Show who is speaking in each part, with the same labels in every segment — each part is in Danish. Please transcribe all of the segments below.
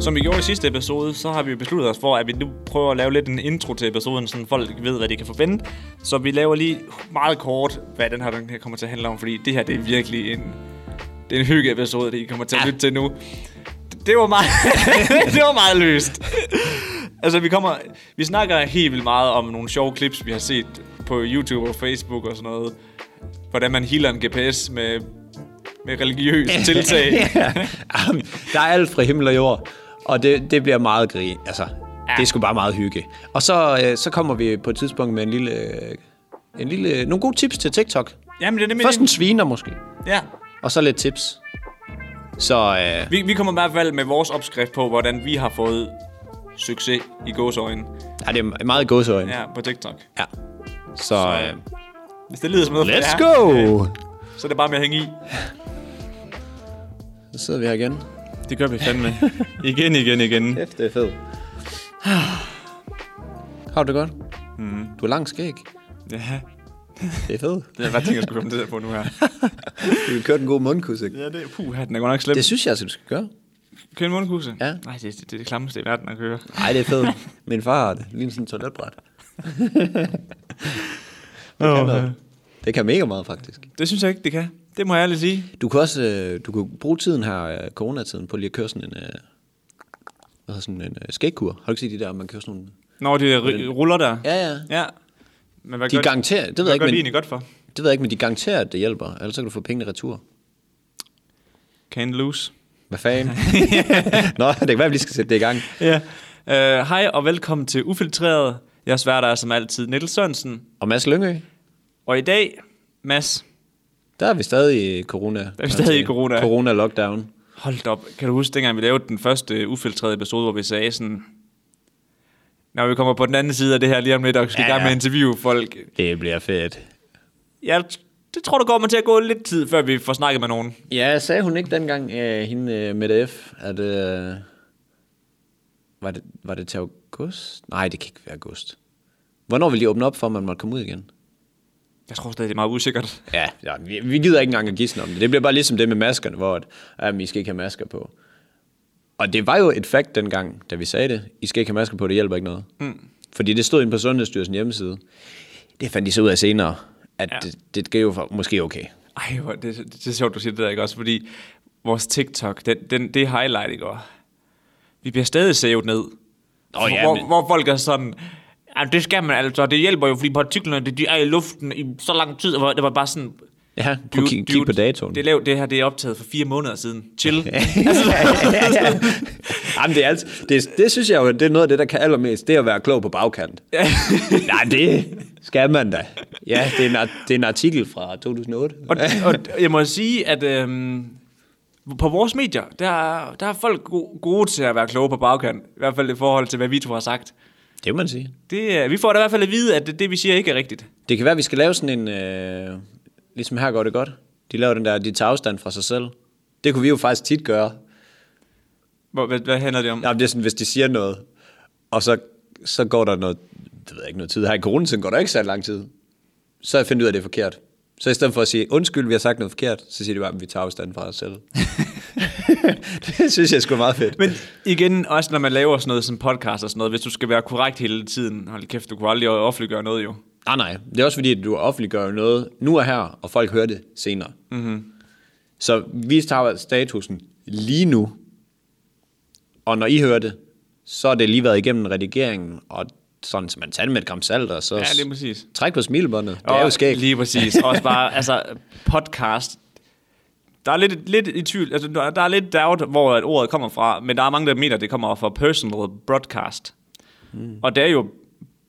Speaker 1: Som vi gjorde i sidste episode, så har vi jo besluttet os for, at vi nu prøver at lave lidt en intro til episoden, så folk ved, hvad de kan forvente. Så vi laver lige meget kort, hvad den her, den her kommer til at handle om, fordi det her det er virkelig en, det er en hygge episode, det I kommer til at lytte til nu. Det- Det var meget, det var meget løst. Altså, vi, kommer, vi snakker helt vildt meget om nogle sjove clips, vi har set på YouTube og Facebook og sådan noget. Hvordan man healer en GPS med, med religiøse tiltag.
Speaker 2: Jamen, der er alt fra himmel og jord, og det, det bliver meget grin. Altså, ja. det er sgu bare meget hygge. Og så, øh, så kommer vi på et tidspunkt med en lille, øh, en lille, nogle gode tips til TikTok.
Speaker 1: Jamen, det er nemlig...
Speaker 2: Først en sviner måske,
Speaker 1: Ja,
Speaker 2: og så lidt tips. Så øh,
Speaker 1: Vi, vi kommer i hvert fald med vores opskrift på, hvordan vi har fået succes i gåsøjne
Speaker 2: er det meget gåsøjne. Ja.
Speaker 1: ja, på TikTok.
Speaker 2: ja. Så øh,
Speaker 1: Hvis det lyder som noget,
Speaker 2: let's
Speaker 1: for jer,
Speaker 2: go!
Speaker 1: så er det bare med at hænge i.
Speaker 2: Så sidder vi her igen.
Speaker 1: Det gør vi fandme. igen, igen, igen.
Speaker 2: Kæft, det er fedt. Har du det godt? Mm. Du er langt skæg.
Speaker 1: Ja,
Speaker 2: Det er fedt.
Speaker 1: det er hvad tænkt, jeg skulle komme til at på nu her.
Speaker 2: Du har kørt en god mundkusse.
Speaker 1: Ja, det er puha, den er godt nok slem.
Speaker 2: Det synes jeg, altså, du skal gøre.
Speaker 1: Kører en mundkuse?
Speaker 2: Ja.
Speaker 1: Nej, det, det, det er det klammeste i verden at køre.
Speaker 2: Nej, det er fedt. Min far har det. Lige sådan en toiletbræt.
Speaker 1: Det,
Speaker 2: kan noget. Det kan mega meget, faktisk.
Speaker 1: det synes jeg ikke, det kan. Det må jeg ærligt sige.
Speaker 2: Du kan også øh, du kan bruge tiden her, øh, coronatiden, på lige at køre sådan en, øh, hvad hedder sådan en øh, skægkur. Har du ikke set de der, man kører sådan nogle...
Speaker 1: Når de ri- ruller der.
Speaker 2: Ja, ja.
Speaker 1: ja. Men hvad
Speaker 2: De
Speaker 1: gør,
Speaker 2: garanterer, det
Speaker 1: hvad
Speaker 2: ved jeg ikke,
Speaker 1: gør de
Speaker 2: men-
Speaker 1: egentlig godt for?
Speaker 2: Det ved jeg ikke, men de garanterer, at det hjælper. Ellers så kan du få pengene retur.
Speaker 1: Can't lose.
Speaker 2: Hvad fanden? Nå, det kan være, at vi lige skal sætte det i gang.
Speaker 1: Ja. Øh, Hej og velkommen til Ufiltreret. Jeg sværter er som altid Niels Sørensen.
Speaker 2: Og Mads Lyngø,
Speaker 1: Og i dag, Mads,
Speaker 2: der er vi stadig i corona. Der
Speaker 1: er vi stadig i corona.
Speaker 2: Corona-lockdown.
Speaker 1: hold da op. Kan du huske, dengang vi lavede den første øh, ufiltrerede episode, hvor vi sagde sådan, når vi kommer på den anden side af det her lige om lidt, og skal ja, i
Speaker 2: Ja,
Speaker 1: gang
Speaker 2: ja.
Speaker 1: med at interviewe folk.
Speaker 2: Det bliver fedt.
Speaker 1: Jeg det tror, der går mig til at gå lidt tid, før vi får snakket med nogen.
Speaker 2: Ja, sagde hun ikke dengang, øh, hende øh, Mette F., at... Øh, var, det, var det til august? Nej, det kan ikke være august. Hvornår vil de åbne op for, at man måtte komme ud igen?
Speaker 1: Jeg tror stadig, det er meget usikkert.
Speaker 2: Ja, ja vi, vi gider ikke engang at gisne om det. Det bliver bare ligesom det med maskerne, hvor at, jamen, I skal ikke have masker på. Og det var jo et fakt dengang, da vi sagde det. I skal ikke have masker på, det hjælper ikke noget. Mm. Fordi det stod inde på Sundhedsstyrelsen hjemmeside. Det fandt de så ud af senere, at
Speaker 1: Ja.
Speaker 2: ja. det, det gav jo for, måske okay.
Speaker 1: Ej, hvor, det, det, det er sjovt, du siger det der, ikke også? Fordi vores TikTok, den, den, det er highlight, ikke også? Vi bliver stadig sævet ned.
Speaker 2: Nå, ja,
Speaker 1: hvor,
Speaker 2: men-
Speaker 1: hvor folk er sådan, "Jamen, det skal man altså, det hjælper jo, fordi partiklerne, de, de er i luften i så lang tid, og det var bare sådan...
Speaker 2: Ja, prøv at
Speaker 1: dude,
Speaker 2: kigge kig på
Speaker 1: dude,
Speaker 2: datoen.
Speaker 1: Det, er lavet, det her det er optaget for fire måneder siden. Chill.
Speaker 2: Altså, Jamen, det, er altid, det, det synes jeg jo, det er noget af det, der kan allermest, det er at være klog på bagkant.
Speaker 1: Ja.
Speaker 2: Nej, det skal man da. Ja, det er en, ar- det er en artikel fra 2008.
Speaker 1: og, og jeg må sige, at øhm, på vores medier, der, er- der er folk go- gode til at være kloge på bagkant. I hvert fald i forhold til, hvad vi to har sagt.
Speaker 2: Det må man sige.
Speaker 1: Det, er- vi får da i hvert fald at vide, at det, det vi siger, ikke er rigtigt.
Speaker 2: Det kan være, vi skal lave sådan en, øh, ligesom her går det godt. De laver den der, de tager afstand fra sig selv. Det kunne vi jo faktisk tit gøre.
Speaker 1: Hvor, hvad, hvad handler det om?
Speaker 2: Jamen, det er sådan, hvis de siger noget, og så, så går der noget, det ved jeg ikke, noget tid. Her i coronatiden går der ikke så lang tid. Så har jeg fundet ud af, at det er forkert. Så i stedet for at sige, undskyld, vi har sagt noget forkert, så siger de bare, at vi tager afstand fra os selv. det synes jeg sgu er meget fedt.
Speaker 1: Men igen, også når man laver sådan noget som podcast og sådan noget, hvis du skal være korrekt hele tiden, hold kæft, du kunne aldrig offentliggøre noget jo.
Speaker 2: Nej, nej. Det er også fordi, at du offentliggør jo noget nu og her, og folk hører det senere. Mm-hmm.
Speaker 1: Mhm.
Speaker 2: Så vi tager statusen lige nu, og når I hører det, så er det lige været igennem redigeringen, og sådan, så man tager det med et gram salt, og så
Speaker 1: Ja, lige præcis.
Speaker 2: træk på smilebåndet. Det er jo skægt.
Speaker 1: Lige præcis. Også bare, altså, podcast. Der er lidt, lidt i tvivl, altså, der der er lidt doubt, hvor at ordet kommer fra, men der er mange, der mener, at det kommer fra personal broadcast. Mm. Og det er jo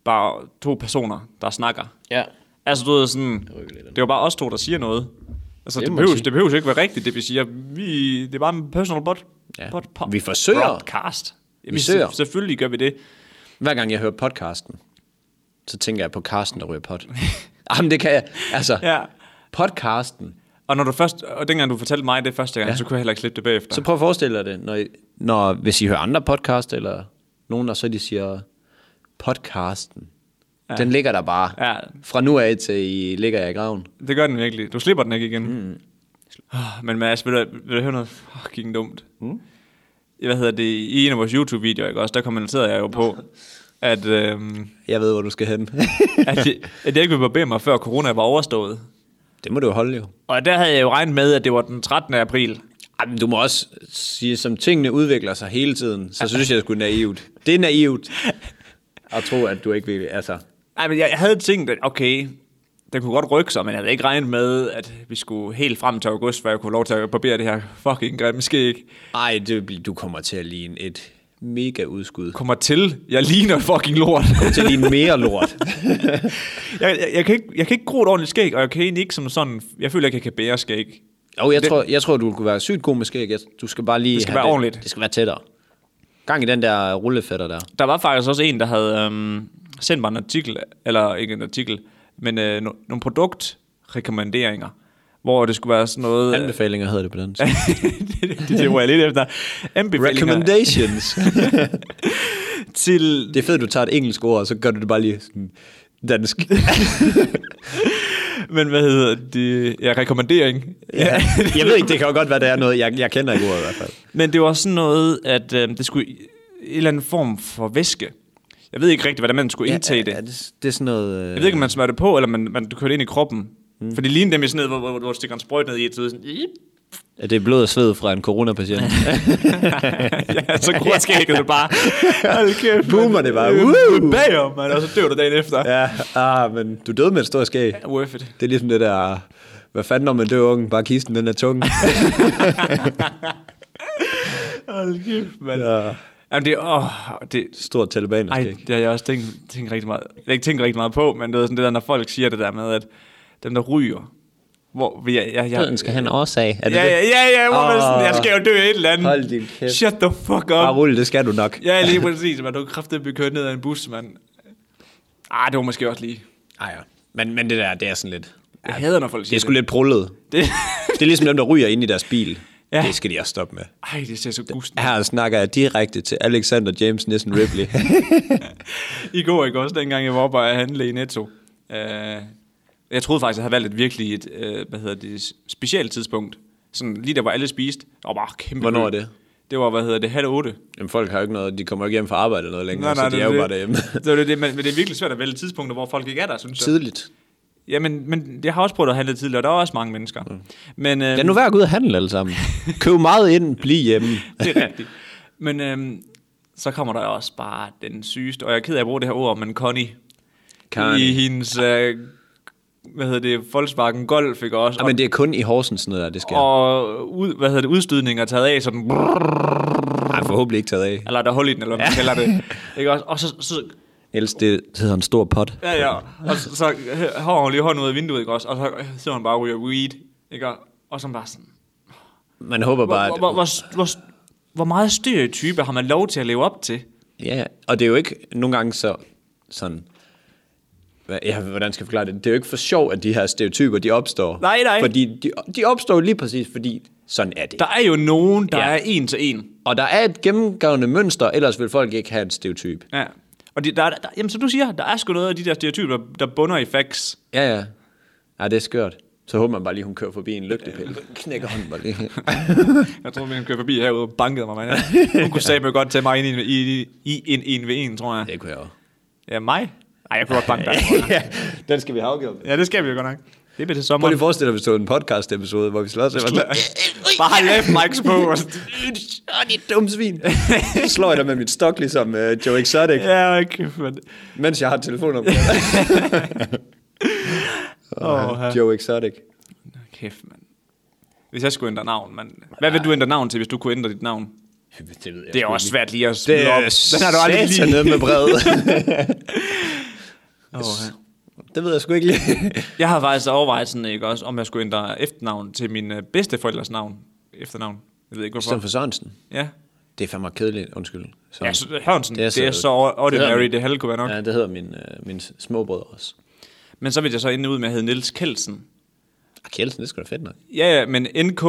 Speaker 1: bare to personer, der snakker.
Speaker 2: Ja.
Speaker 1: Altså, du ved, sådan, det er jo bare os to, der siger noget. Altså, det,
Speaker 2: Det
Speaker 1: det,
Speaker 2: må
Speaker 1: behøves,
Speaker 2: man sige.
Speaker 1: det behøves ikke være rigtigt, det vi siger. Vi, det er bare en personal bot,
Speaker 2: Ja.
Speaker 1: bot, pod-
Speaker 2: Vi forsøger.
Speaker 1: Broadcast. Vi, vi
Speaker 2: søger.
Speaker 1: søger. Selvfølgelig gør vi det.
Speaker 2: Hver gang jeg hører podcasten, så tænker jeg på Karsten, der ryger pot. Jamen, det kan jeg. Altså,
Speaker 1: Ja.
Speaker 2: podcasten.
Speaker 1: Og når du først, og dengang du fortalte mig det første gang, ja. så kunne jeg heller ikke slippe det bagefter.
Speaker 2: Så prøv at forestille dig det, når, I, når hvis I hører andre podcast, eller nogen, der så de siger podcasten. Ja. Den ligger der bare.
Speaker 1: Ja.
Speaker 2: Fra nu af til I ligger jeg i graven.
Speaker 1: Det gør den virkelig. Du slipper den ikke igen. Mm. Men Mads, vil du, vil du høre noget fucking dumt? Mm. Hvad hedder det? I en af vores YouTube-videoer, ikke også, der kommenterede jeg jo på, at, øhm,
Speaker 2: Jeg ved, hvor du skal hen.
Speaker 1: at, jeg, at jeg ikke ville barbere mig, før corona var overstået.
Speaker 2: det må du jo holde jo.
Speaker 1: Og der havde jeg jo regnet med, at det var den 13. april.
Speaker 2: Ej, men du må også sige, som tingene udvikler sig hele tiden, så synes jeg, det er sgu naivt. Det er naivt at tro, at du ikke vil... Altså,
Speaker 1: Ej, men jeg, jeg havde tænkt, at okay, den kunne godt rykke sig, men jeg havde ikke regnet med, at vi skulle helt frem til august, hvor jeg kunne have lov til at barbere det her fucking grimme skæg.
Speaker 2: ej, det, vil blive- du kommer til at ligne et mega udskud.
Speaker 1: Kommer til, jeg ligner fucking lort.
Speaker 2: Kommer til at ligne mere lort.
Speaker 1: jeg, jeg, jeg, kan ikke, jeg kan ikke gro et ordentligt skæg, og jeg kan egentlig ikke som sådan... Jeg føler ikke, jeg kan bære skæg.
Speaker 2: Jo, jeg, tror, jeg tror, du kunne være sygt god med skæg. Jeg- Du skal bare lige... Det
Speaker 1: skal være
Speaker 2: det.
Speaker 1: ordentligt.
Speaker 2: Det skal være tættere. Gang i den der rullefætter der.
Speaker 1: Der var faktisk også en, der havde øhm, sendt mig en artikel, eller ikke en artikel, men øh, no, nogle produktrekommenderinger, hvor det skulle være sådan noget... øh,
Speaker 2: Anbefalinger hedder det på dansk.
Speaker 1: det, det, det var jeg lidt efter. Anbefalinger
Speaker 2: Recommendations.
Speaker 1: til...
Speaker 2: det er fedt, du tager et engelsk ord, og så gør du det bare lige sådan dansk.
Speaker 1: Men hvad hedder det? Ja, rekommendering.
Speaker 2: Ja. jeg ved ikke, det kan jo godt være, det er noget, jeg, jeg kender ikke ordet i hvert fald.
Speaker 1: Men det var sådan noget, at øh, det skulle i- en eller anden form for væske. Jeg ved ikke rigtigt, hvordan man skulle indtage det.
Speaker 2: Ja, det, det er sådan noget... Øh...
Speaker 1: Jeg ved ikke, om man smører det på, eller man, man du kører det ind i kroppen. Mm. For det ligner dem i sådan noget, hvor, hvor, hvor du stikker en sprøjt ned i, og så er det sådan, "Ip."
Speaker 2: Er det blod og sved fra en coronapatient?
Speaker 1: ja, så gror skægget det bare. Hold kæft.
Speaker 2: Boomer
Speaker 1: mand.
Speaker 2: det bare.
Speaker 1: Øh, Bagom, man, og så dør du dagen efter. Ja.
Speaker 2: ja, ah, men du døde med et stort skæg.
Speaker 1: Worth it.
Speaker 2: Det er ligesom det der... Hvad fanden når man dør unge? Bare kisten, den er tung.
Speaker 1: Hold kæft, mand. Ja.
Speaker 2: Ja.
Speaker 1: Jamen, det, åh, det,
Speaker 2: Stort
Speaker 1: Ej,
Speaker 2: talibanerskæg.
Speaker 1: det har jeg også tænkt, tænkt rigtig meget. Jeg har ikke tænkt rigtig meget på, men det er sådan det der, når folk siger det der med, at dem, der ryger, hvor vi... Jeg, jeg, jeg,
Speaker 2: have en årsag. Er det
Speaker 1: ja,
Speaker 2: det?
Speaker 1: ja, ja, ja, hvor man er sådan,
Speaker 2: Åh.
Speaker 1: jeg skal jo dø af et eller andet.
Speaker 2: Hold din kæft.
Speaker 1: Shut the fuck
Speaker 2: Bare
Speaker 1: up.
Speaker 2: rulle, det skal du nok.
Speaker 1: Ja, lige præcis, man. Du er kraftigt blive kørt ned af en bus, mand. Ah, det var måske også lige.
Speaker 2: Ej, ja. Men, men det der, det er sådan lidt...
Speaker 1: Jeg hader, når folk
Speaker 2: Det
Speaker 1: siger
Speaker 2: er sgu lidt prullet.
Speaker 1: det.
Speaker 2: Det er ligesom dem, der ryger ind i deres bil.
Speaker 1: Ja.
Speaker 2: Ja. Det skal de også stoppe med.
Speaker 1: Ej, det ser så gusten.
Speaker 2: Her snakker jeg direkte til Alexander James Nissen Ripley.
Speaker 1: I går, ikke også, dengang jeg var oppe og handle i Netto. Uh, jeg troede faktisk, jeg havde valgt et virkelig et, uh, hvad hedder det, specielt tidspunkt. Sådan lige der, hvor alle spiste. Og bare kæmpe
Speaker 2: Hvornår
Speaker 1: kø.
Speaker 2: er det?
Speaker 1: Det var, hvad hedder det, halv otte.
Speaker 2: Jamen, folk har jo ikke noget, de kommer jo ikke hjem fra arbejde eller noget længere, så de
Speaker 1: det
Speaker 2: er jo
Speaker 1: det.
Speaker 2: bare derhjemme.
Speaker 1: Det, er jo det, det, men, men det er virkelig svært at vælge tidspunkter, hvor folk ikke er der, synes jeg.
Speaker 2: Tidligt.
Speaker 1: Jamen, men jeg har også prøvet at handle tidligere, og der er også mange mennesker. Mm. Men, øh,
Speaker 2: Lad nu være at gå ud og handle alle sammen. Køb meget ind, bliv hjemme.
Speaker 1: det er rigtigt. Men øhm, så kommer der også bare den sygeste, og jeg er ked af at bruge det her ord, men Connie,
Speaker 2: Connie.
Speaker 1: i hendes, øh, hvad hedder det, Volkswagen Golf, ikke også?
Speaker 2: Ja, men det er kun i Horsens noget der, det sker. Og...
Speaker 1: og ud, hvad hedder det, udstødninger taget af, sådan, brrr,
Speaker 2: Ej, forhåbentlig ikke taget af.
Speaker 1: eller der er hul i den, eller hvad man kalder det. Ikke også? Og så, så
Speaker 2: Ellers det, det hedder en stor pot.
Speaker 1: Ja, ja. Og så, så har hun lige hånden ud af vinduet, ikke også? Og så sidder hun bare og ryger weed, ikke? Og- Og så er man bare sådan...
Speaker 2: Man håber bare,
Speaker 1: Hvor,
Speaker 2: at...
Speaker 1: hvor, hvor, hvor, hvor meget stereotype har man lov til at leve op til?
Speaker 2: Ja, og det er jo ikke nogle gange så sådan... Hvad- Ja, hvordan skal jeg forklare det? Det er jo ikke for sjov, at de her stereotyper, de opstår.
Speaker 1: Nej, nej.
Speaker 2: Fordi de, de opstår jo lige præcis, fordi sådan er det.
Speaker 1: Der er jo nogen, der ja.
Speaker 2: Ja.
Speaker 1: er en til en.
Speaker 2: Og der er et gennemgående mønster, ellers vil folk ikke have et stereotyp.
Speaker 1: Ja. Og de, der, der, jamen, som du siger, der er sgu noget af de der stereotyper, der bunder i facts.
Speaker 2: Ja, ja. Ja, det er skørt. Så håber man bare lige, hun kører forbi en lygtepæl. Knækker hånden bare lige.
Speaker 1: Jeg tror, vi kan køre forbi herude og bankede mig. Man. Hun kunne sæbe godt tage mig ind i, i, i en en ved en, tror jeg.
Speaker 2: det kunne jeg også.
Speaker 1: Ja, mig? Nej, jeg kunne godt banke dig. tror jeg.
Speaker 2: ja, den skal vi have afgjort.
Speaker 1: Ja, det skal vi jo godt nok. Det bliver til sommer.
Speaker 2: Prøv lige at forestille dig, hvis det var en podcast-episode, hvor vi slår sig.
Speaker 1: Bare left mics på. og sådan.
Speaker 2: Åh, dit dumme svin. Så slår jeg dig med mit stok, ligesom uh, Joe Exotic, ja.
Speaker 1: Ja, okay, men...
Speaker 2: mens jeg har telefonen
Speaker 1: Åh,
Speaker 2: på. Joe Exotic.
Speaker 1: Kæft, mand. Hvis jeg skulle ændre navn, mand. Hvad vil du ændre navn til, hvis du kunne ændre dit navn?
Speaker 2: Det ved jeg.
Speaker 1: Det er også svært lige at smide
Speaker 2: det
Speaker 1: op.
Speaker 2: er
Speaker 1: Den har du aldrig lige.
Speaker 2: ned med brevet.
Speaker 1: Åh, ja.
Speaker 2: det ved jeg sgu ikke lige.
Speaker 1: Jeg har faktisk overvejet sådan, ikke også, om jeg skulle ændre efternavn til min øh, bedsteforældres navn. Efternavn. Jeg ved ikke, hvorfor.
Speaker 2: Stedet for Sørensen.
Speaker 1: Ja.
Speaker 2: Det er fandme kedeligt, undskyld. Så.
Speaker 1: Ja, så- øh, Hørnsen, det er så, det er så
Speaker 2: det
Speaker 1: ordinary,
Speaker 2: hedder-
Speaker 1: det halve kunne være nok. Ja.
Speaker 2: Ja, det hedder min, øh, min småbrødre også.
Speaker 1: Men så vil jeg så ende ud med at hedde Niels Kelsen.
Speaker 2: Ah, Kjeldsen, det skulle da fedt nok.
Speaker 1: Ja, ja, men NK,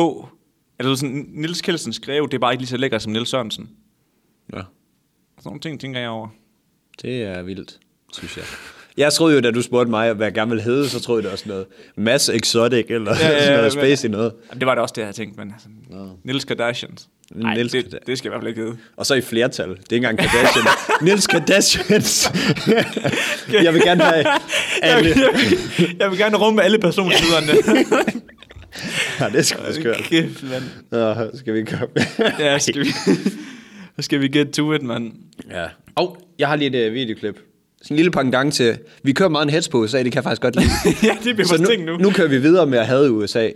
Speaker 1: eller sådan, Niels Kelsen skrev, det er bare ikke lige så lækkert som Niels Sørensen.
Speaker 2: Ja,
Speaker 1: Sådan nogle ting tænker jeg over.
Speaker 2: det er vildt, synes jeg. Jeg troede jo, da du spurgte mig, hvad jeg gerne ville hedde, så troede jeg det var sådan noget Mass Exotic, eller ja, ja, ja, sådan noget
Speaker 1: men-
Speaker 2: Space i noget.
Speaker 1: Jamen, det var det også det, jeg havde tænkt, men altså, no. Nils Kardashians. Nej,
Speaker 2: Niels
Speaker 1: det,
Speaker 2: Karda-
Speaker 1: det skal i hvert fald ikke hedde.
Speaker 2: Og så i flertal. Det er ikke engang Kardashian. Nils Kardashians. jeg vil gerne have
Speaker 1: Jeg,
Speaker 2: alle.
Speaker 1: vil- jeg, vil- jeg vil gerne rumme alle personlighederne.
Speaker 2: Ja, det skal vi skøre.
Speaker 1: Kæft, mand.
Speaker 2: Nå, skal vi komme.
Speaker 1: Ja, skal vi, så skal vi get to it, mand.
Speaker 2: ja. Og jeg har lige et øh, videoklip. Sådan en lille pangdang til, vi kører meget en heads på USA, det kan jeg faktisk godt lide.
Speaker 1: ja, det bliver vores ting nu.
Speaker 2: nu, nu kører vi videre med at hade USA.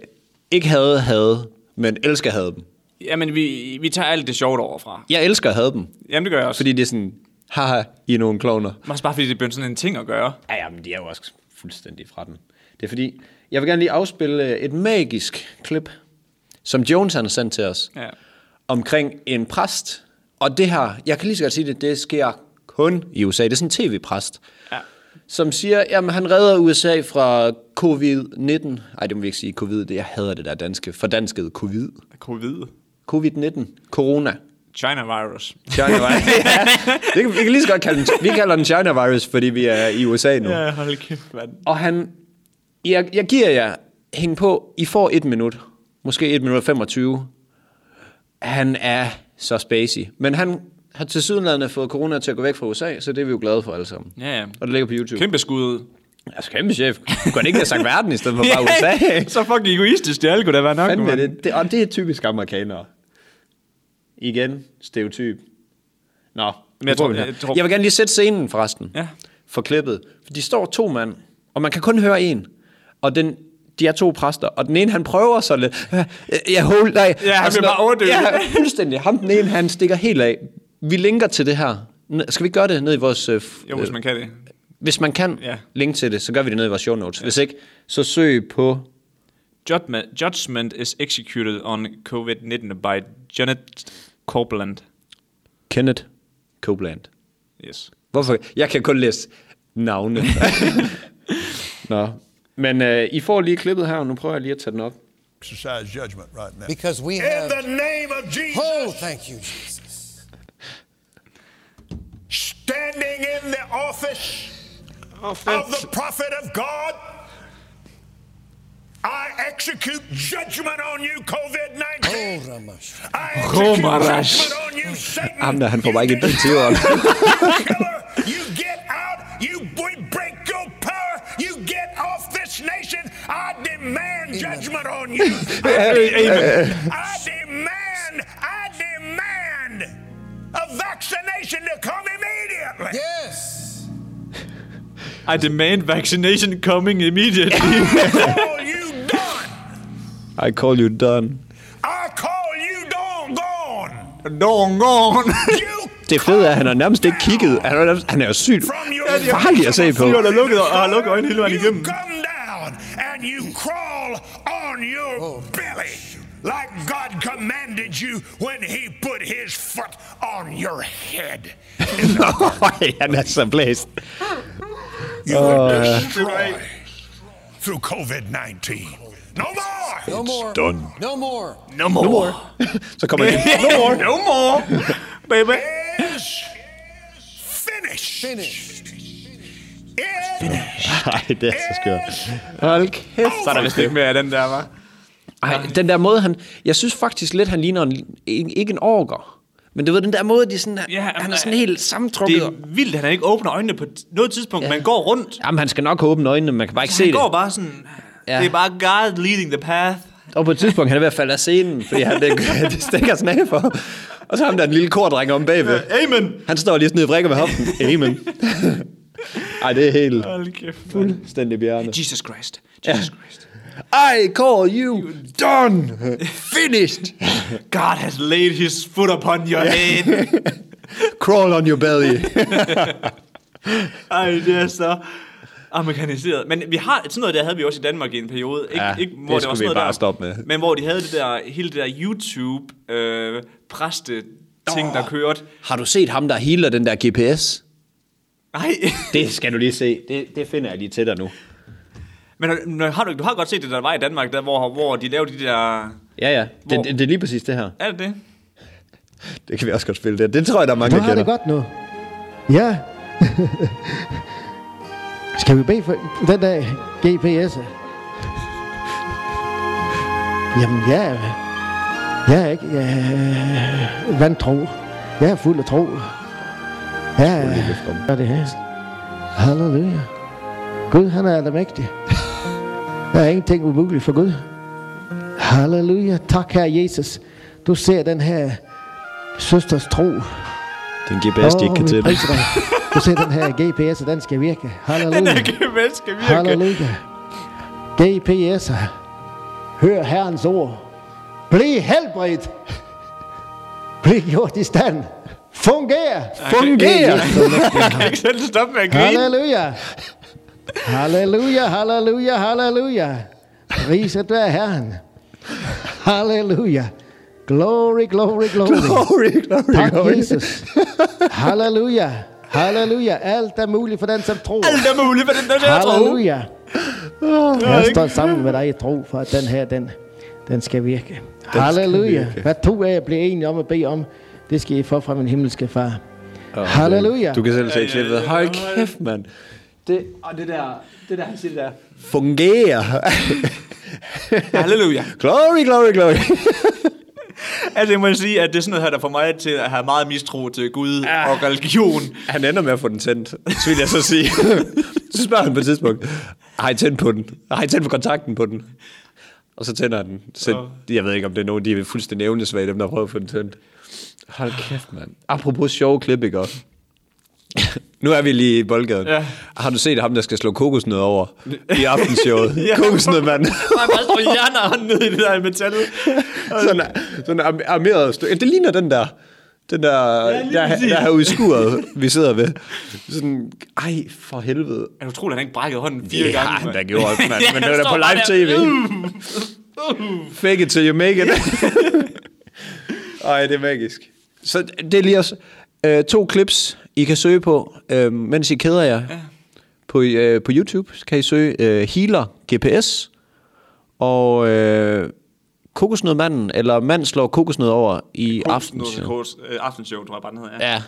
Speaker 2: Ikke hade, hade, men elsker at hade dem.
Speaker 1: Jamen, vi, vi tager alt det sjovt overfra.
Speaker 2: Jeg elsker at hade dem,
Speaker 1: Jamen, det gør jeg også. Fordi...
Speaker 2: fordi det er sådan, haha, I er nogle klovner.
Speaker 1: Også bare fordi det blev sådan en ting at gøre.
Speaker 2: Ja, ja, men de er jo også fuldstændig fra den. Det er fordi, jeg vil gerne lige afspille øh, et magisk klip, som Jones han har sendt til os,
Speaker 1: Ja.
Speaker 2: omkring en præst. Og det her, jeg kan lige så godt sige det, det sker kun i USA. Det er sådan en tv-præst,
Speaker 1: Ja.
Speaker 2: som siger, jamen han redder USA fra covid-19. Nej, det må vi ikke sige covid, det jeg hader det der danske, fordanskede covid.
Speaker 1: Covid.
Speaker 2: Covid-19, corona.
Speaker 1: China virus.
Speaker 2: China virus. ja, det kan, vi kan lige så godt kalde den, vi kalder den China virus, fordi vi er i USA nu.
Speaker 1: Ja, hold kæft, mand.
Speaker 2: Og han, jeg, jeg giver jer, hæng på, I får et minut, måske et minut og 25. Han er så spacey, men han har til sydenlandet fået corona til at gå væk fra USA, så det er vi jo glade for alle sammen.
Speaker 1: Ja, ja.
Speaker 2: Og det ligger på YouTube.
Speaker 1: Kæmpe skud.
Speaker 2: Altså kæmpe chef. Kunne han ikke have sagt verden i stedet for bare USA?
Speaker 1: så fucking egoistisk, det alle kunne da være nok.
Speaker 2: Fanden med
Speaker 1: mand.
Speaker 2: det. det. Og det er typisk amerikanere. Igen, stereotyp. Nå,
Speaker 1: jeg
Speaker 2: nu får
Speaker 1: tror-
Speaker 2: vi den her.
Speaker 1: jeg tror-
Speaker 2: jeg vil gerne lige sætte scenen forresten.
Speaker 1: Ja.
Speaker 2: For klippet. For de står to mand, og man kan kun høre en. Og den, de er to præster, og den ene, han prøver så lidt. "Øh, Jeg hold, nej.
Speaker 1: Ja, han
Speaker 2: Og sådan
Speaker 1: bliver bare
Speaker 2: noget.
Speaker 1: overdøvet.
Speaker 2: Ja, fuldstændig. Ham den ene, han stikker helt af. Vi linker til det her. N- Skal vi gøre det ned i vores... øh, f- øh,
Speaker 1: Jo, hvis man kan det.
Speaker 2: hvis man kan
Speaker 1: Ja.
Speaker 2: linke til det, så gør vi det ned i vores show notes. Hvis ikke, så søg på...
Speaker 1: Judgment, judgment is executed on COVID-19 by Janet Copeland.
Speaker 2: Kenneth Copeland.
Speaker 1: Yes.
Speaker 2: Hvorfor? Jeg kan kun læse navne. Nå. Men øh, I får lige klippet her, og nu prøver jeg lige at tage den op.
Speaker 3: exercise judgment right now.
Speaker 4: Because we
Speaker 5: In
Speaker 4: have.
Speaker 5: the name of Jesus,
Speaker 4: oh, thank you, Jesus.
Speaker 5: standing in the office of the prophet of God, I execute judgment on you, COVID 19.
Speaker 4: Oh, Ramash.
Speaker 5: I
Speaker 1: Oh,
Speaker 5: execute
Speaker 1: Maharaj.
Speaker 5: judgment on you, Satan.
Speaker 2: Ham der, han får
Speaker 5: You
Speaker 2: bare ikke
Speaker 5: get
Speaker 2: ind til åren.
Speaker 5: out, killer. You get out. You we break your power. You get off this nation. I demand judgment on you. I demand, I demand a vaccination to come immediately.
Speaker 4: Yes.
Speaker 1: I demand vaccination coming immediately.
Speaker 5: Call you done.
Speaker 2: I call you done.
Speaker 5: I call you done gone.
Speaker 1: Long on.
Speaker 5: You
Speaker 2: Det fede er, at han har nærmest ikke kigget. Han er, nærmest, han er jo sygt
Speaker 5: from your
Speaker 2: farlig at se på.
Speaker 1: Fyren er lukket og har lukket øjnene hele vejen
Speaker 5: You
Speaker 1: igennem.
Speaker 5: come down and you crawl on your
Speaker 2: Oh.
Speaker 5: belly like God commanded you when He put His foot on your head.
Speaker 2: Uh, Nå, han er så blæst.
Speaker 5: You were destroyed through COVID 19. No more!
Speaker 4: No more. No more.
Speaker 1: No more. No more.
Speaker 2: Så kommer det.
Speaker 1: No more. no more. Baby.
Speaker 5: Is finished.
Speaker 4: Finished.
Speaker 5: It
Speaker 2: Nej, det er så skørt. Hold kæft.
Speaker 1: Så er der vist ikke mere af den der, var.
Speaker 2: Ej, den der måde, han... Jeg synes faktisk lidt, han ligner en, ikke ikke en orker. Men du ved, den der måde, de sådan,
Speaker 1: Ja,
Speaker 2: ja, han er
Speaker 1: men,
Speaker 2: sådan
Speaker 1: øh,
Speaker 2: helt
Speaker 1: Det
Speaker 2: sammentrukket.
Speaker 1: er vildt, at han ikke åbner øjnene på t- noget tidspunkt. Ja. Man går rundt.
Speaker 2: Jamen, han skal nok åbne øjnene, man kan bare ikke se
Speaker 1: Han
Speaker 2: det.
Speaker 1: går bare sådan... Ja.
Speaker 2: Ja.
Speaker 1: Det er bare God leading the path.
Speaker 2: Og på et tidspunkt, han er ved at falde af scenen, fordi han, det, det stikker sådan af for. Og så ham der den lille kordreng om bagved.
Speaker 1: Amen.
Speaker 2: Han står lige sådan nede og vrikker med hoften. Amen. Ej, det er helt
Speaker 1: Hold kæft, mand.
Speaker 2: fuldstændig bjerne.
Speaker 1: Jesus Christ. Jesus Christ.
Speaker 2: I call you done. Finished.
Speaker 1: God has laid his foot upon your head.
Speaker 2: Crawl on your belly.
Speaker 1: Ej, det er så amerikaniseret. Men vi har sådan noget, der havde vi også i Danmark i en periode. Ikke,
Speaker 2: Ja,
Speaker 1: ikke,
Speaker 2: det
Speaker 1: hvor det, var
Speaker 2: skulle
Speaker 1: sådan
Speaker 2: vi
Speaker 1: noget
Speaker 2: bare
Speaker 1: der,
Speaker 2: stoppe med.
Speaker 1: Men hvor de havde det der, hele det der YouTube øh, præste ting, der kørte.
Speaker 2: Har du set ham, der healer den der GPS?
Speaker 1: Nej,
Speaker 2: Det skal du lige se. Det, det finder jeg lige til dig nu.
Speaker 1: men har- men har du, du har godt set det, der var i Danmark, der, hvor, hvor de lavede de der...
Speaker 2: Ja, ja.
Speaker 1: Hvor?
Speaker 2: Det, det, det er lige præcis det her.
Speaker 1: Er det det?
Speaker 2: Det kan vi også godt spille der. Det tror jeg, der er mange, der
Speaker 6: Du har det
Speaker 2: kender.
Speaker 6: godt nu. Ja. Skal vi bede for den der GPS? Jamen, jeg er, jeg er ikke jeg er vantro. Jeg er fuld af tro. Jeg er, hvad er det her. Halleluja. Gud, han er almægtig. Der er ingenting umuligt for Gud. Halleluja. Tak, Herre Jesus. Du ser den her søsters tro.
Speaker 2: Den GPS, de ikke kan
Speaker 6: vi
Speaker 2: til.
Speaker 6: priser dig. Du ser den her GPS, den skal virke. Halleluja. Den
Speaker 1: Hvad skal vi
Speaker 6: Halleluja. GPS. Hør Herrens ord. Bliv helbredt. Bliv gjort i stand. Funger.
Speaker 2: Fungerer!
Speaker 1: Jeg kan ikke selv stoppe med at grine.
Speaker 6: Halleluja. Halleluja, halleluja, halleluja. Priset være Herren. Halleluja. Glory, glory, glory.
Speaker 2: Glory, glory,
Speaker 6: Tak,
Speaker 2: glory.
Speaker 6: Jesus. Halleluja. Halleluja. Alt er muligt for den, som tror.
Speaker 1: Det er muligt, for den der der tro.
Speaker 6: Halleluja. Jeg står sammen med dig i tro for, at den her, den, den skal virke. Halleluja.
Speaker 2: virke.
Speaker 6: Hvad to af jer bliver enige om at bede om, det skal I få fra min himmelske far. Halleluja.
Speaker 2: Du kan selv se klippet. Hold kæft, mand. Det, og det der, det der, han siger der. Fungerer.
Speaker 1: Halleluja.
Speaker 2: glory, glory, glory.
Speaker 1: Altså, jeg må sige, at det er sådan noget her, der får mig til at have meget mistro til Gud og religion.
Speaker 2: Han ender med at få den tændt, så vil jeg så sige. så spørger han på et tidspunkt, har I tændt på den? Har I tændt på kontakten på den? Og så tænder han den. Så jeg ved ikke, om det er nogen, de er fuldstændig evnesvage, dem der prøver at få den tændt. Hold kæft, mand. Apropos sjove klip, ikke også? nu er vi lige i boldgaden.
Speaker 1: Ja.
Speaker 2: Har du set ham, der skal slå kokosnød over i aftenshowet?
Speaker 1: Ja.
Speaker 2: Kokosnød, mand.
Speaker 1: Han bare står hjerner ned i det der metal.
Speaker 2: sådan, sådan en ar- armeret stykke. Det ligner den der, den der,
Speaker 1: Ja,
Speaker 2: ja,
Speaker 1: lige
Speaker 2: der,
Speaker 1: præcis.
Speaker 2: der her udskuret, vi sidder ved. Sådan, ej, for helvede.
Speaker 1: Er du troligt, at han ikke brækkede hånden fire
Speaker 2: det
Speaker 1: gange?
Speaker 2: har han
Speaker 1: mand?
Speaker 2: da gjort, mand.
Speaker 1: Ja, han
Speaker 2: Men det var da
Speaker 1: står
Speaker 2: på
Speaker 1: bare
Speaker 2: live
Speaker 1: der.
Speaker 2: tv. Uh, Fake it till you make it. Ej, det er magisk. Så det er lige os. Øh, to clips, I kan søge på, øh, mens I keder jer. Ja. På, øh, på YouTube kan I søge øh, Healer GPS og øh, kokosnødmanden, eller mand slår kokosnød over i aftenshow.
Speaker 1: Aftenshow. Øh, Aftenshow, tror jeg bare, den hedder. Ja.
Speaker 2: Ja,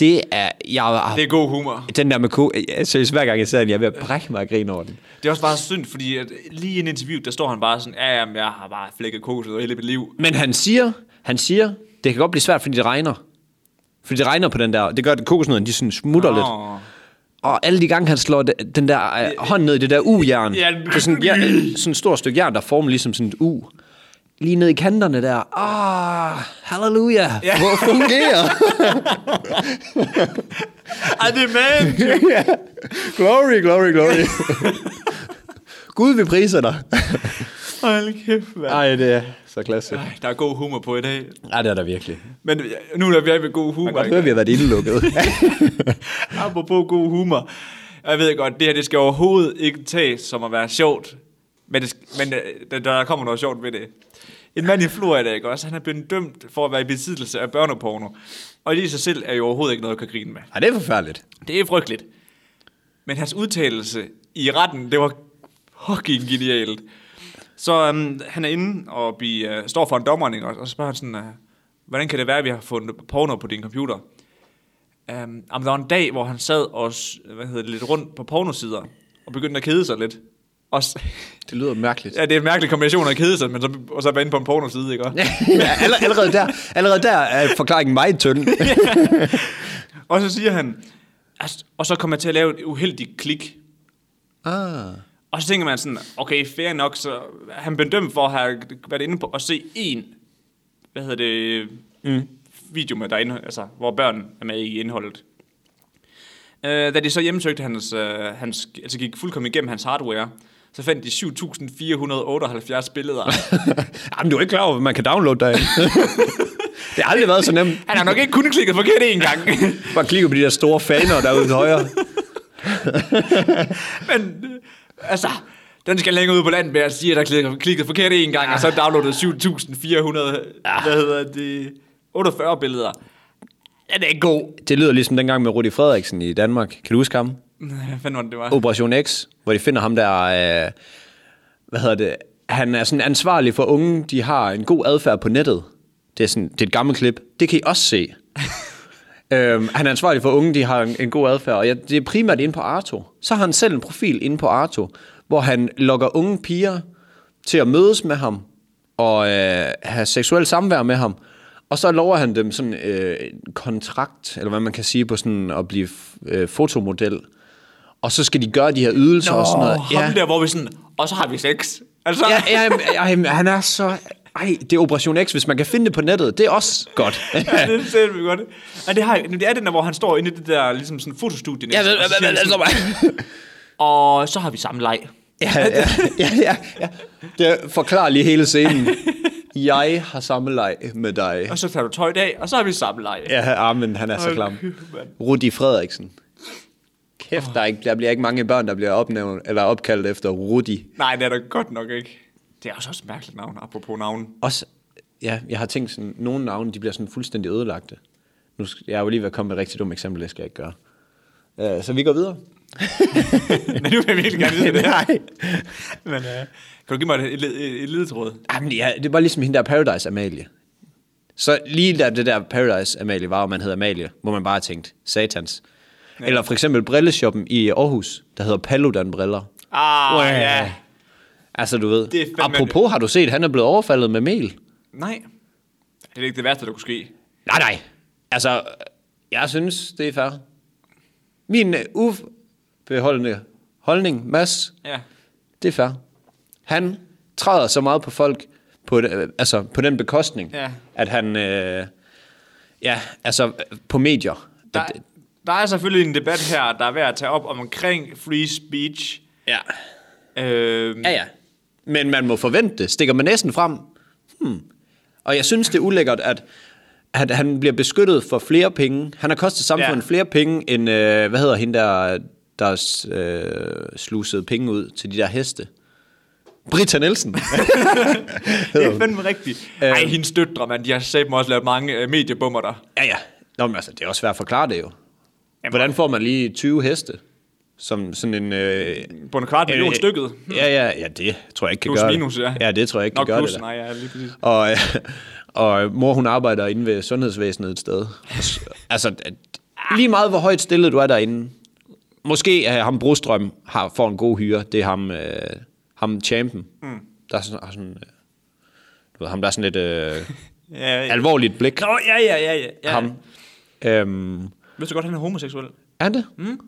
Speaker 2: det er... Jeg,
Speaker 1: Det er god humor.
Speaker 2: den der med ko... Jeg, seriøst, hver gang jeg ser den, jeg er ved at brække mig og grine over den.
Speaker 1: Det er også bare synd, fordi at lige i en interview, der står han bare sådan, ja, jamen, jeg har bare flækket kokos ud hele mit liv.
Speaker 2: Men han siger, han siger, det kan godt blive svært, fordi det regner. Fordi det regner på den der, det gør, at kokosnødderne, de sådan smutter oh. lidt.
Speaker 1: Åh.
Speaker 2: Og alle de gange, han slår de- den der øh, hånd ned i det der u-jern,
Speaker 1: Ja.
Speaker 2: ja. det er sådan, ja, sådan et stort stykke jern, der former ligesom sådan et u. Lige ned i kanterne der. Ah, halleluja. Ja. Hvor fungerer?
Speaker 1: Ej, det er man!
Speaker 2: glory, glory, glory. Gud, vi priser dig.
Speaker 1: Hold kæft, mand.
Speaker 2: Nej, det er så klasse.
Speaker 1: Ej, Der er god humor på i dag.
Speaker 2: Nej, det er der virkelig.
Speaker 1: Men øh, nu er vi ved god humor.
Speaker 2: Man kan godt høre, at vi har været indelukket.
Speaker 1: Apropos god humor. Jeg ved godt, det her det skal overhovedet ikke tages som at være sjovt. Men, det, sk- men øh, der, der kommer noget sjovt ved det. En mand i Florida, ikke også? Han er blevet dømt for at være i besiddelse af børneporno. Og det i sig selv er jo overhovedet ikke noget, at kan grine med.
Speaker 2: Ej, det er forfærdeligt.
Speaker 1: Det er frygteligt. Men hans udtalelse i retten, det var fucking genialt. Så um, han er inde og bi, uh, står for en dommer, ikke? og og så spørger han sådan, uh, hvordan kan det være, at vi har fundet porno på din computer? Um, der var en dag, hvor han sad og s- hvad hedder det, lidt rundt på pornosider, og begyndte at kede sig lidt. Og, s-
Speaker 2: Det lyder mærkeligt.
Speaker 1: ja, det er en mærkelig kombination at kede sig, men så, og så være inde på en pornoside, ikke? også?
Speaker 2: ja, aller- allerede, der, allerede der er forklaringen meget tynd.
Speaker 1: Og så siger han, "Altså," og så kommer jeg til at lave et uheldigt klik.
Speaker 2: ah.
Speaker 1: Og så tænker man sådan, okay, fair nok, så han blev dømt for at have været inde på at se en, hvad hedder det, mm. video med derinde, altså, hvor børn er med i indholdet. Uh, da de så hjemsøgte hans, uh, hans, altså gik fuldkommen igennem hans hardware, så fandt de 7.478 billeder.
Speaker 2: Jamen, du er ikke klar over, at man kan downloade dig. det har aldrig været så nemt.
Speaker 1: Han har nok ikke kun klikket forkert én gang.
Speaker 2: Bare klikke på de der store faner derude til højre.
Speaker 1: Men, øh, altså, den skal længere ud på landet med at sige, at der klikkede, klikkede forkert en gang, og så
Speaker 2: Ah.
Speaker 1: downloadede 7400, hvad hedder det, 48 billeder. Ja, det er ikke god.
Speaker 2: Det lyder ligesom dengang med Rudi Frederiksen i Danmark. Kan du huske ham?
Speaker 1: Hvad fanden var det, det var?
Speaker 2: Operation X, hvor de finder ham der... Øh, hvad hedder det? Han er sådan ansvarlig for unge, de har en god adfærd på nettet. Det er, sådan, det er et gammelt klip. Det kan I også se. Øhm, han er ansvarlig for at unge, de har en, en god adfærd, og jeg, det er primært inde på Arto. Så har han selv en profil inde på Arto, hvor han lokker unge piger til at mødes med ham og øh, have seksuel samvær med ham. Og så lover han dem sådan øh, en kontrakt, eller hvad man kan sige, på sådan at blive øh, fotomodel. Og så skal de gøre de her ydelser Nå, og sådan noget.
Speaker 1: Åh, ham der, hvor vi sådan, og så har vi sex. Altså,
Speaker 2: Ja, ja, jamen, ej, jamen, han er så... Ej, det er Operation X. Hvis man kan finde det på nettet, det er også godt.
Speaker 1: det er sindssygt godt. Og det, har, jeg- det er den der, hvor han står inde i det der ligesom sådan fotostudie.
Speaker 2: Ja,
Speaker 1: næsten,
Speaker 2: men-
Speaker 1: og så siger
Speaker 2: men-
Speaker 1: han sådan,
Speaker 2: altså,
Speaker 1: og så har vi samme leg.
Speaker 2: ja, ja, ja, ja, ja. Det forklarer lige hele scenen. Jeg har samme leg med dig.
Speaker 1: Og så tager du tøj af, og så har vi samme leg.
Speaker 2: Ja, ah, men han er så
Speaker 1: Hold
Speaker 2: klam.
Speaker 1: kæft, mand.
Speaker 2: Rudi Frederiksen. Kæft, der, er ikke, der bliver ikke mange børn, der bliver opnævnt, eller opkaldt efter Rudi.
Speaker 1: Nej, det er da godt nok ikke. Det er også også et mærkeligt navn, apropos navn.
Speaker 2: Også, ja, jeg har tænkt sådan, nogle navne, de bliver sådan fuldstændig ødelagte. Nu skal, jeg er jo lige ved at komme med et rigtig dumt eksempel, det skal jeg ikke gøre. Uh, så vi går videre.
Speaker 1: Men nu vil jeg virkelig gerne vide det her.
Speaker 2: Nej.
Speaker 1: Men, uh, kan du give mig et, et, et, et ledetråd?
Speaker 2: Jamen, ja, det var ligesom hende der Paradise Amalie. Så lige da det der Paradise Amalie var, og man hed Amalie, hvor man bare tænkte, satans. Ja. Eller for eksempel brilleshoppen i Aarhus, der hedder Paludan Briller.
Speaker 1: Ah,
Speaker 2: Uæh.
Speaker 1: ja.
Speaker 2: Altså, du ved.
Speaker 1: Det er fandme-
Speaker 2: Apropos, har du set, han er blevet overfaldet med mel?
Speaker 1: Nej. Det er ikke det værste, der kunne ske.
Speaker 2: Nej, nej. Altså, jeg synes, det er fair. Min øh, ubeholdende holdning, Mads,
Speaker 1: Ja.
Speaker 2: det er fair. Han træder så meget på folk, på, et, øh, altså, på den bekostning,
Speaker 1: Ja.
Speaker 2: at han, øh, ja, altså øh, på medier.
Speaker 1: Der,
Speaker 2: At,
Speaker 1: der er selvfølgelig en debat her, der er værd at tage op omkring free speech.
Speaker 2: ja,
Speaker 1: Øhm,
Speaker 2: ja, ja. Men man må forvente det. Stikker man næsen frem? Hmm. Og jeg synes, det er ulækkert, at, at han bliver beskyttet for flere penge. Han har kostet samfundet
Speaker 1: Ja.
Speaker 2: ja. flere penge end, øh, hvad hedder hende der, der øh, slusede penge ud til de der heste? Britta Nielsen.
Speaker 1: Det er fandme rigtigt.
Speaker 2: Øhm.
Speaker 1: Ej, hendes døtre, mand. De har sæt mig også lavet mange øh, mediebummer der.
Speaker 2: Ja, ja. Nå, men altså, det er også svært at forklare det jo. Jamen, Hvordan får man lige 20 heste? Som sådan en... Øh,
Speaker 1: På en kvart million stykket.
Speaker 2: Ja, ja, ja, det tror jeg ikke kan
Speaker 1: Plus
Speaker 2: gøre
Speaker 1: minus,
Speaker 2: det.
Speaker 1: ja.
Speaker 2: ja. det tror jeg ikke
Speaker 1: Nå,
Speaker 2: kan
Speaker 1: plus,
Speaker 2: gøre det. der.
Speaker 1: nej, ja, lige præcis.
Speaker 2: Og, øh, og øh, mor, hun arbejder inde ved sundhedsvæsenet et sted. Og s- altså, at-
Speaker 1: Ah.
Speaker 2: lige meget hvor højt stillet du er derinde. Måske er ham Brostrøm har, får en god hyre. Det er ham, øh, ham champen. Mm. Der er sådan, har sådan øh, du ved, ham der er sådan lidt øh,
Speaker 1: Ja, ja.
Speaker 2: alvorligt blik.
Speaker 1: Nå, ja, ja, ja, ja. ja.
Speaker 2: Ham. Øhm,
Speaker 1: Ved du godt, han er homoseksuel?
Speaker 2: Er det? Mm.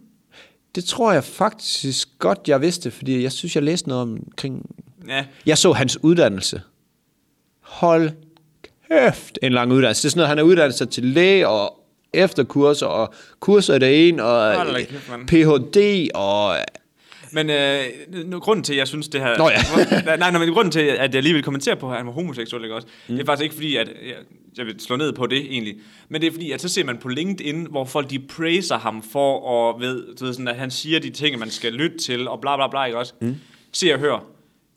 Speaker 2: Det tror jeg faktisk godt, jeg vidste, fordi jeg synes, jeg læste noget omkring...
Speaker 1: Ja.
Speaker 2: Jeg så hans uddannelse. Hold kæft, en lang uddannelse. Det er sådan noget, han har uddannet sig til læge og efterkurser og kurser i det ene, og
Speaker 1: Hold da kæft, mand.
Speaker 2: Ph.D. og...
Speaker 1: Men øh, nu, grunden til, at jeg synes det her...
Speaker 2: Nå ja.
Speaker 1: nej, nej, men grunden til, at jeg lige vil kommentere på, at han var homoseksuel, ikke også? Mm. Det er faktisk ikke fordi, at jeg, jeg vil slå ned på det egentlig. Men det er fordi, at så ser man på LinkedIn, hvor folk de praiser ham for at ved, du ved sådan, at han siger de ting, man skal lytte til, og bla bla bla, ikke også? Mm. Se og hør.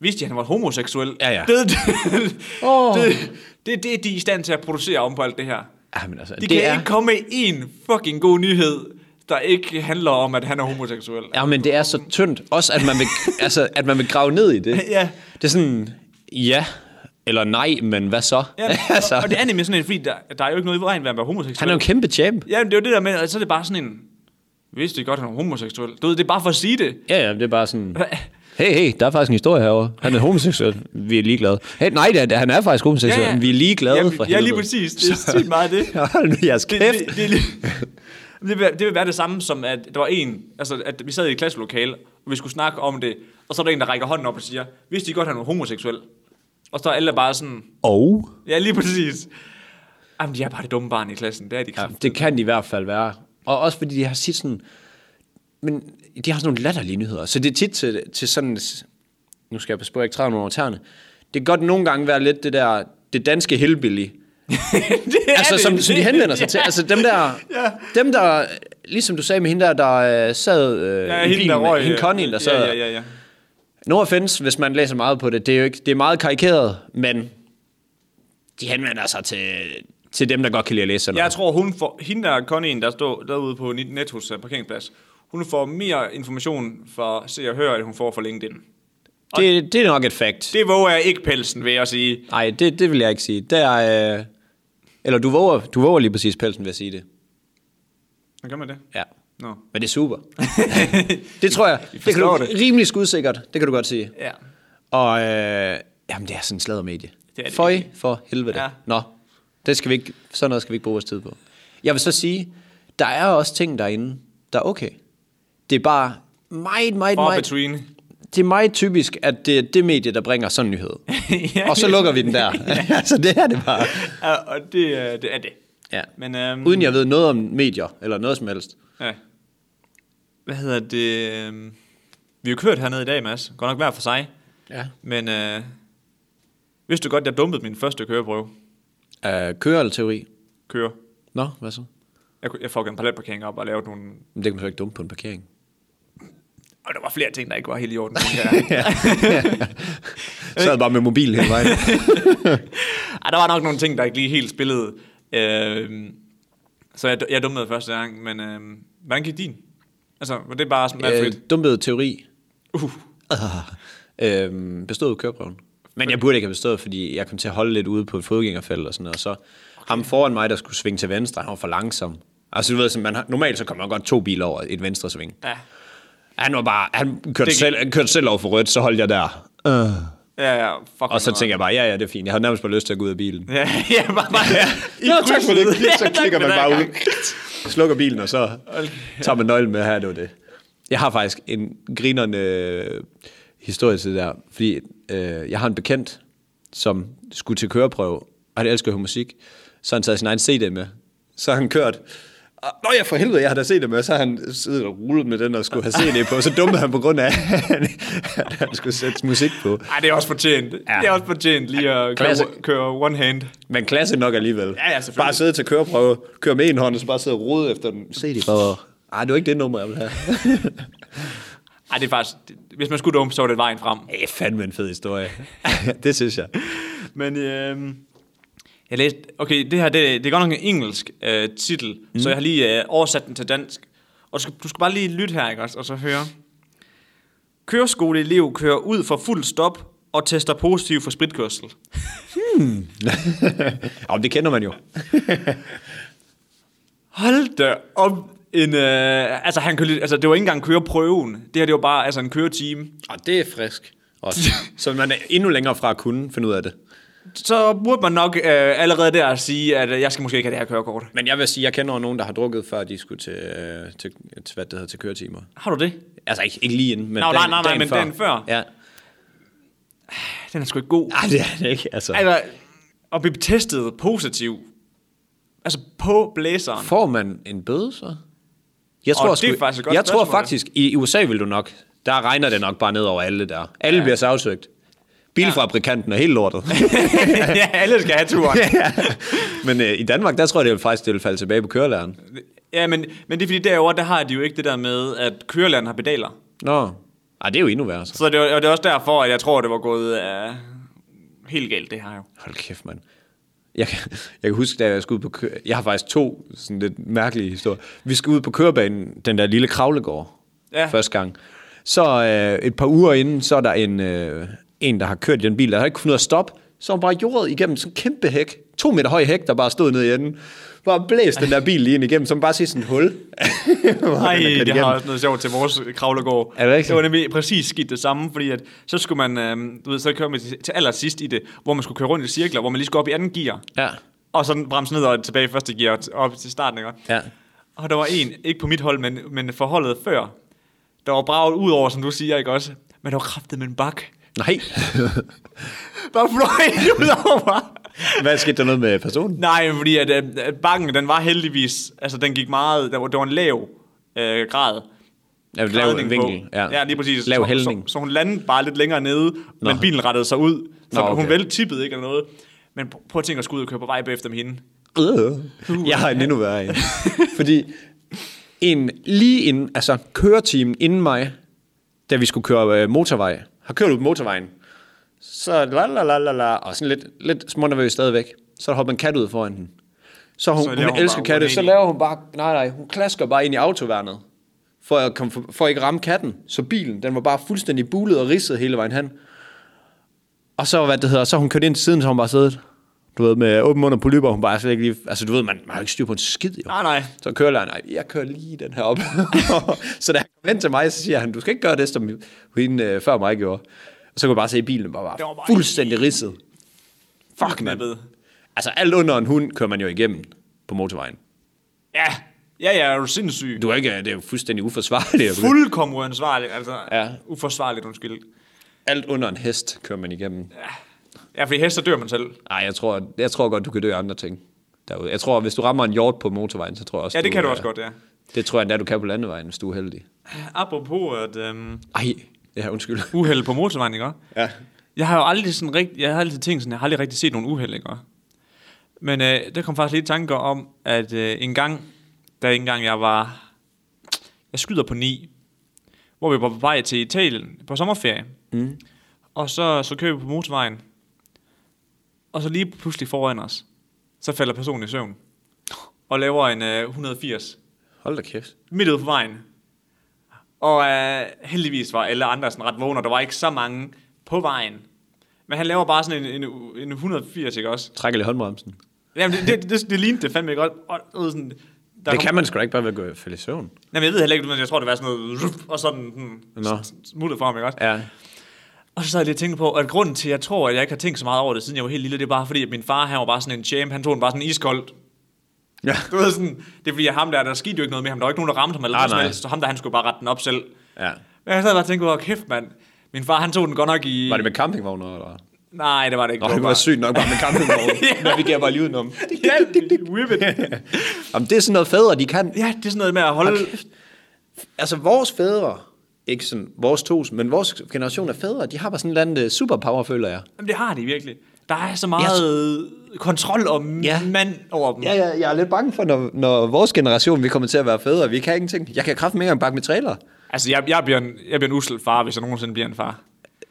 Speaker 1: Vidste de, at han var homoseksuel?
Speaker 2: Ja, ja.
Speaker 1: Det, det,
Speaker 2: Åh.
Speaker 1: det, det, er det, de er i stand til at producere om på alt det her.
Speaker 2: Jamen, altså,
Speaker 1: De det kan er... ikke komme med en fucking god nyhed, der ikke handler om, at han er homoseksuel.
Speaker 2: Ja, men det er så tyndt. Også at man vil, altså, at man vil grave ned i det.
Speaker 1: Ja.
Speaker 2: Det er sådan, ja, eller nej, men hvad så?
Speaker 1: Ja, altså. og, og det er nemlig sådan en, fordi der, der er jo ikke noget i vejen ved at være homoseksuel.
Speaker 2: Han er jo en kæmpe champ.
Speaker 1: Ja, det er jo det der med, og så er det bare sådan en, hvis det godt, han er homoseksuel. Du ved, det er bare for at sige det.
Speaker 2: Ja, ja, det er bare sådan... Hey, hey, der er faktisk en historie herovre. Han er homoseksuel. Vi er ligeglade. Hey, nej, det er, han er faktisk homoseksuel.
Speaker 1: Ja, ja.
Speaker 2: Vi er ligeglade
Speaker 1: Jamen,
Speaker 2: for
Speaker 1: ja, lige præcis. Det er sygt meget det.
Speaker 2: Hold nu jeres kæft.
Speaker 1: Det, det, det, er lige- det, vil, være- det vil være det samme som, at der var en, altså at vi sad i et klasselokale, og vi skulle snakke om det, og så er der en, der rækker hånden op og siger, hvis de godt, han er homoseksuel. Og så er alle bare sådan,
Speaker 2: Og?
Speaker 1: ja, lige præcis. Jamen, de er bare det dumme barn i klassen. Det er de
Speaker 2: Ja,
Speaker 1: kraft.
Speaker 2: det kan de i hvert fald være. Og også fordi de har sit sådan... Men de har sådan nogle latterlige nyheder. Så det er tit til, til sådan... Nu skal jeg passe på, at jeg ikke træder nogen over tæerne. Det kan godt nogle gange være lidt det der... Det danske hillbilly.
Speaker 1: det er
Speaker 2: altså,
Speaker 1: det.
Speaker 2: som, som de henvender sig til. Altså, dem der, ja. dem der, ligesom du sagde med hende der, der øh, sad øh,
Speaker 1: Ja,
Speaker 2: i
Speaker 1: hende,
Speaker 2: bilen,
Speaker 1: der røg,
Speaker 2: hende
Speaker 1: øh,
Speaker 2: Connie, der sad.
Speaker 1: ja, ja, ja, ja.
Speaker 2: No offense, hvis man læser meget på det. Det er jo ikke, det er meget karikeret, men de henvender sig til, til dem, der godt kan lide at læse. Eller
Speaker 1: Jeg tror, hun får, hende der Connie'en, der står derude på Net- Nettos øh, parkeringsplads, hun får mere information fra Se og Hør, end hun får fra LinkedIn.
Speaker 2: det, det er nok et fact.
Speaker 1: Det våger jeg ikke pelsen, vil jeg sige.
Speaker 2: Nej, det, det vil jeg ikke sige. Det er, øh, eller du våger, du våger lige præcis pelsen ved at sige det.
Speaker 1: Gør man det?
Speaker 2: Ja.
Speaker 1: Nå.
Speaker 2: Men det er super. det tror jeg. Det kan du
Speaker 1: forstår det.
Speaker 2: rimelig skudsikkert. Det kan du godt sige.
Speaker 1: Ja.
Speaker 2: Og øh, jamen, det er sådan en sladdermedie.
Speaker 1: Det er det
Speaker 2: Føj
Speaker 1: virkelig.
Speaker 2: for helvede.
Speaker 1: Ja.
Speaker 2: Ja. Nå, det skal vi ikke, sådan noget skal vi ikke bruge vores tid på. Jeg vil så sige, der er også ting derinde, der er okay. Det er bare meget, meget,
Speaker 1: Far
Speaker 2: meget,
Speaker 1: between.
Speaker 2: det er meget typisk, at det er det medie, der bringer sådan en nyhed.
Speaker 1: Ja.
Speaker 2: Og så lukker vi den der. altså, det er det bare.
Speaker 1: Ja, og det, øh, det er det.
Speaker 2: Ja.
Speaker 1: Men, øhm,
Speaker 2: Uden jeg ved noget om medier, eller noget som helst.
Speaker 1: Ja. Hvad hedder det? øhm, Vi har jo kørt hernede i dag, Mads. Godt nok hver for sig.
Speaker 2: Ja.
Speaker 1: Men øh, vidste du godt, jeg dumpede min første køreprøve?
Speaker 2: Uh, kører eller teori?
Speaker 1: Køre.
Speaker 2: Nå, hvad så?
Speaker 1: Jeg, kunne- jeg fuckede en paletparkering op og lavede nogle...
Speaker 2: Men det kan man så ikke dumme på en parkering.
Speaker 1: Og der var flere ting, der ikke var helt i orden. tænker jeg. Øh.
Speaker 2: Så er bare med mobil hele vejen.
Speaker 1: Ej, der var nok nogle ting, der ikke lige helt spillede. Øh, så jeg, jeg dumpede første gang, men øh, hvordan gik din? Altså, var det bare sådan, øh,
Speaker 2: øh,
Speaker 1: fedt?
Speaker 2: dumpede teori. Uh. Øhm, bestod køreprøven. Men jeg burde ikke have bestået, fordi jeg kom til at holde lidt ude på et fodgængerfelt og sådan noget. Og så okay. ham foran mig, der skulle svinge til venstre, han var for langsom. Altså du ved, sådan, man har, normalt så kommer man godt to biler over et venstre sving.
Speaker 1: Ja.
Speaker 2: Han var bare, han kørte,
Speaker 1: Det-
Speaker 2: selv, han kørte selv over for rødt, så holdt jeg der. Uh.
Speaker 1: Ja, ja, fuck
Speaker 2: Og så tænkte jeg bare, ja, ja, det er fint. Jeg havde nærmest bare lyst til at gå ud af bilen.
Speaker 1: Ja, ja, bare, bare i
Speaker 2: Nå, tak for det.
Speaker 1: krydset. Ja,
Speaker 2: Så
Speaker 1: tak
Speaker 2: klikker
Speaker 1: for den
Speaker 2: man bare
Speaker 1: gang.
Speaker 2: ud. Slukker bilen, og så tager man nøglen med her, det var det. Jeg har faktisk en grinerende øh, historie til det der, fordi øh, jeg har en bekendt, som skulle til køreprøve, og han elsker at høre musik, så har han taget sin egen CD med. Så har han kørt, og, Nå ja, for helvede, jeg har da set det med, så har han siddet og rullet med den, og skulle have CD på, og så dummede han på grund af, at han, at han skulle sætte musik på.
Speaker 1: Ej, det er også fortjent. Ja. Det er også fortjent lige at
Speaker 2: Klasse.
Speaker 1: køre, køre one hand.
Speaker 2: Men klasse nok alligevel.
Speaker 1: Ja, ja, selvfølgelig.
Speaker 2: bare sidde til køreprøve, køre med en hånd, og så bare sidde og rode efter den. Se det bare. Ej, det var ikke det nummer, jeg ville have.
Speaker 1: Ej, det er faktisk... Det, hvis man skulle dumpe, så var det vejen frem.
Speaker 2: Det er fandme en fed historie. det synes jeg.
Speaker 1: Men øhm, jeg læste... Okay, det her, det, det er godt nok en engelsk øh, titel, mm. så jeg har lige øh, oversat den til dansk. Og du skal, du skal bare lige lytte her, ikke også, og så høre. Køreskoleelev kører ud for fuld stop og tester positiv for spritkørsel.
Speaker 2: Og det kender man jo.
Speaker 1: Hold da op. En, øh, altså, han kørte, altså, det var ikke engang køreprøven. Det her, det var bare altså, en køretime.
Speaker 2: Og det er frisk. Også. Så man er endnu længere fra at kunne finde ud af det.
Speaker 1: Så burde man nok øh, allerede der sige, at øh, jeg skal måske ikke have det her kørekort.
Speaker 2: Men jeg vil sige, jeg kender nogen, der har drukket, før de skulle til, øh, til, til hvad det hedder, til køretimer.
Speaker 1: Har du det?
Speaker 2: Altså ikke, ikke lige inden, men
Speaker 1: Nå, nej,
Speaker 2: dagen,
Speaker 1: nej, nej,
Speaker 2: dagen
Speaker 1: men
Speaker 2: før.
Speaker 1: dagen før.
Speaker 2: Ja.
Speaker 1: Den er sgu ikke god.
Speaker 2: Ej, det er det ikke, altså.
Speaker 1: Altså, at blive testet positiv. Altså på blæseren.
Speaker 2: Får man en bøde så? Jeg
Speaker 1: Og
Speaker 2: tror,
Speaker 1: det er
Speaker 2: sgu-
Speaker 1: faktisk et godt
Speaker 2: jeg tror
Speaker 1: spørgsmål.
Speaker 2: faktisk, i i USA vil du nok, der regner det nok bare ned over alle der. Alle ja. bliver sagsøgt. Bilfabrikanten er helt lortet.
Speaker 1: ja, alle skal have turen.
Speaker 2: Men øh, i Danmark, der tror jeg, det vil faktisk det vil falde tilbage på kørelæreren.
Speaker 1: ja, men, men det er fordi derovre, der har de jo ikke det der med, at kørelæren har pedaler.
Speaker 2: Nå. Ej, det er jo endnu værre så.
Speaker 1: Så det, var- og det er også derfor, at jeg tror, det var gået uh, helt galt, det her jo.
Speaker 2: Hold kæft, mand. Jeg kan, jeg kan huske, da jeg skulle ud på kø- Jeg har faktisk to sådan lidt mærkelige historier. Vi skal ud på kørebanen, den der lille kravlegård,
Speaker 1: Ja.
Speaker 2: ja. første gang. Så øh, et par uger inden, så er der en, øh, en der har kørt i den bil, der har ikke kunnet nå at stoppe. Så er hun bare jordet igennem sådan en kæmpe hæk. To meter høj hæk, der bare stod nede i enden. Bare blæst den der bil lige ind igennem, så man bare ser sådan et hul.
Speaker 1: Nej, det har
Speaker 2: igennem.
Speaker 1: også noget sjovt til vores kravlegård.
Speaker 2: Er det rigtigt?
Speaker 1: det var nemlig præcis skidt det samme, fordi at, så skulle man, øhm, du ved, så kører man til, til allersidst i det, hvor man skulle køre rundt i cirkler, hvor man lige skulle op i anden gear.
Speaker 2: Ja.
Speaker 1: Og så bremse ned og tilbage i første gear og t- op til starten, ikke?
Speaker 2: Ja.
Speaker 1: Og der var en, ikke på mit hold, men, men for holdet før, der var braget ud over, som du siger, ikke også? Men der var kraftet med en bak.
Speaker 2: Nej.
Speaker 1: Bare fløj ud over mig.
Speaker 2: Hvad skete der noget med personen?
Speaker 1: Nej, fordi at, øh, at bakken, den var heldigvis, altså den gik meget, der var, der var en lav øh, grad.
Speaker 2: Ja, lav
Speaker 1: Grædning
Speaker 2: vinkel.
Speaker 1: på. Ja. ja, lige præcis.
Speaker 2: Lav
Speaker 1: så, så,
Speaker 2: hældning.
Speaker 1: så, hun landede bare lidt længere nede, Nå. men bilen rettede sig ud. Så Nå,
Speaker 2: Nå,
Speaker 1: okay.
Speaker 2: okay.
Speaker 1: hun vel tippede ikke eller noget. Men pr- prøv at tænke at skulle ud og køre på vej bagefter med hende.
Speaker 2: Øh. Jeg har en endnu værre en. Fordi en, lige inden, altså køretimen inden mig, da vi skulle køre øh, motorvej, har kørt ud på motorvejen. Så la la la la la, og sådan lidt, lidt smånervøs stadigvæk. Så hopper en kat ud foran den. Så hun,
Speaker 1: Så
Speaker 2: så
Speaker 1: laver
Speaker 2: hun,
Speaker 1: hun
Speaker 2: hun elsker
Speaker 1: bare
Speaker 2: katte, så
Speaker 1: 180.
Speaker 2: laver hun bare, nej nej, hun klasker bare ind i autoværnet. For at, komme, for, for at ikke ramme katten. Så bilen, den var bare fuldstændig bulet og ridset hele vejen hen. Og så, hvad det hedder, så har hun kørt ind til siden, så har hun bare siddet. du ved, med åben mund og polyper, hun bare slet ikke lige... Altså, du ved, man, man har jo ikke styr på en skid, jo.
Speaker 1: Nej, nej.
Speaker 2: Så kører læreren, nej, jeg kører lige den her op. så da han kom ind til mig, så siger han, du skal ikke gøre det, som hende øh, før mig gjorde. Og så kunne jeg bare se, at bilen bare var,
Speaker 1: Det var bare
Speaker 2: fuldstændig ridset. Fuck, mand.
Speaker 1: Knippet.
Speaker 2: Altså, alt under en hund kører man jo igennem på motorvejen.
Speaker 1: Ja, ja, ja, er du sindssyg?
Speaker 2: Du er ikke, øh, det er jo fuldstændig uforsvarligt.
Speaker 1: Fuldkommen uansvarligt, altså.
Speaker 2: Ja.
Speaker 1: Uforsvarligt, undskyld.
Speaker 2: Alt under en hest kører man igennem.
Speaker 1: Ja, fordi hester dør man selv.
Speaker 2: Nej, jeg tror, jeg tror godt, du kan dø af andre ting derude. Jeg tror, hvis du rammer en hjort på motorvejen, så tror jeg også...
Speaker 1: Ja, det kan du
Speaker 2: øh,
Speaker 1: også godt, ja.
Speaker 2: Det tror jeg endda, du kan på landevejen, hvis du er heldig.
Speaker 1: Apropos at øhm,
Speaker 2: Ej, ja, undskyld.
Speaker 1: uheld på motorvejen, ikke? også?
Speaker 2: Ja.
Speaker 1: Jeg har jo aldrig sådan rigtig, jeg har altid tænkt sådan, jeg har aldrig rigtig set nogen uheld, ikke? også? Men øh, der kom faktisk lidt tanker om, at øh, en gang, da en gang jeg var, jeg skyder på ni, hvor vi var på vej til Italien på sommerferie. Mm. Og så, så kører vi på motorvejen, og så lige pludselig foran os, så falder personen i søvn og laver en øh, 180
Speaker 2: Hold da kæft.
Speaker 1: midt ude på vejen. Og øh, heldigvis var alle andre sådan ret vågne, og der var ikke så mange på vejen. Men han laver bare sådan en, en, en 180, ikke også?
Speaker 2: Trækker lidt håndbremsen.
Speaker 1: Jamen, det, det, det, det lignede det fandme godt. Og, og sådan, der
Speaker 2: Det
Speaker 1: kom-
Speaker 2: kan man sgu da ikke bare ved at gå falde i søvn.
Speaker 1: Jamen, jeg ved heller ikke, men jeg tror, det var sådan noget... ruff, Og sådan hmm,
Speaker 2: Nå.
Speaker 1: smuttet for ham, ikke også?
Speaker 2: Ja.
Speaker 1: Og så sad jeg lige og tænkte på, at grunden til, at jeg tror, at jeg ikke har tænkt så meget over det, siden jeg var helt lille, det er bare fordi, at min far, han var bare sådan en champ. Han tog den bare sådan iskoldt.
Speaker 2: Ja.
Speaker 1: Du ved sådan, det er fordi, at ham der, der skete jo ikke noget med ham. Der var ikke nogen, der ramte ham eller
Speaker 2: Ah,
Speaker 1: noget som
Speaker 2: nej.
Speaker 1: helst, så ham der, han skulle bare rette den op selv.
Speaker 2: ja.
Speaker 1: Men jeg sad bare og tænkte, hvor kæft, mand. Min far, han tog den godt nok i...
Speaker 2: Var det med campingvogn eller?
Speaker 1: Nej, det var det ikke.
Speaker 2: Nå, det var sygt nok bare med campingvogn.
Speaker 1: Ja.
Speaker 2: ja. Navigerer bare lige udenom.
Speaker 1: sygt. Whip it.
Speaker 2: Jamen, det er sådan noget fædre, de kan.
Speaker 1: Ja, det er sådan noget med at holde...
Speaker 2: Altså, vores fædre, ikke sådan vores tos, men vores generation af fædre, de har bare sådan en eller anden øh, superpower, føler jeg.
Speaker 1: Jamen, det har de virkelig. Der er så meget kontrol og
Speaker 2: Ja.
Speaker 1: mand over dem.
Speaker 2: Ja, ja, jeg er lidt bange for, når, når vores generation, vi kommer til at være fædre, vi kan ingenting. Jeg kan kraft ikke engang bakke med trailer.
Speaker 1: Altså, jeg, jeg, bliver en, jeg bliver en usel far, hvis jeg nogensinde bliver en far.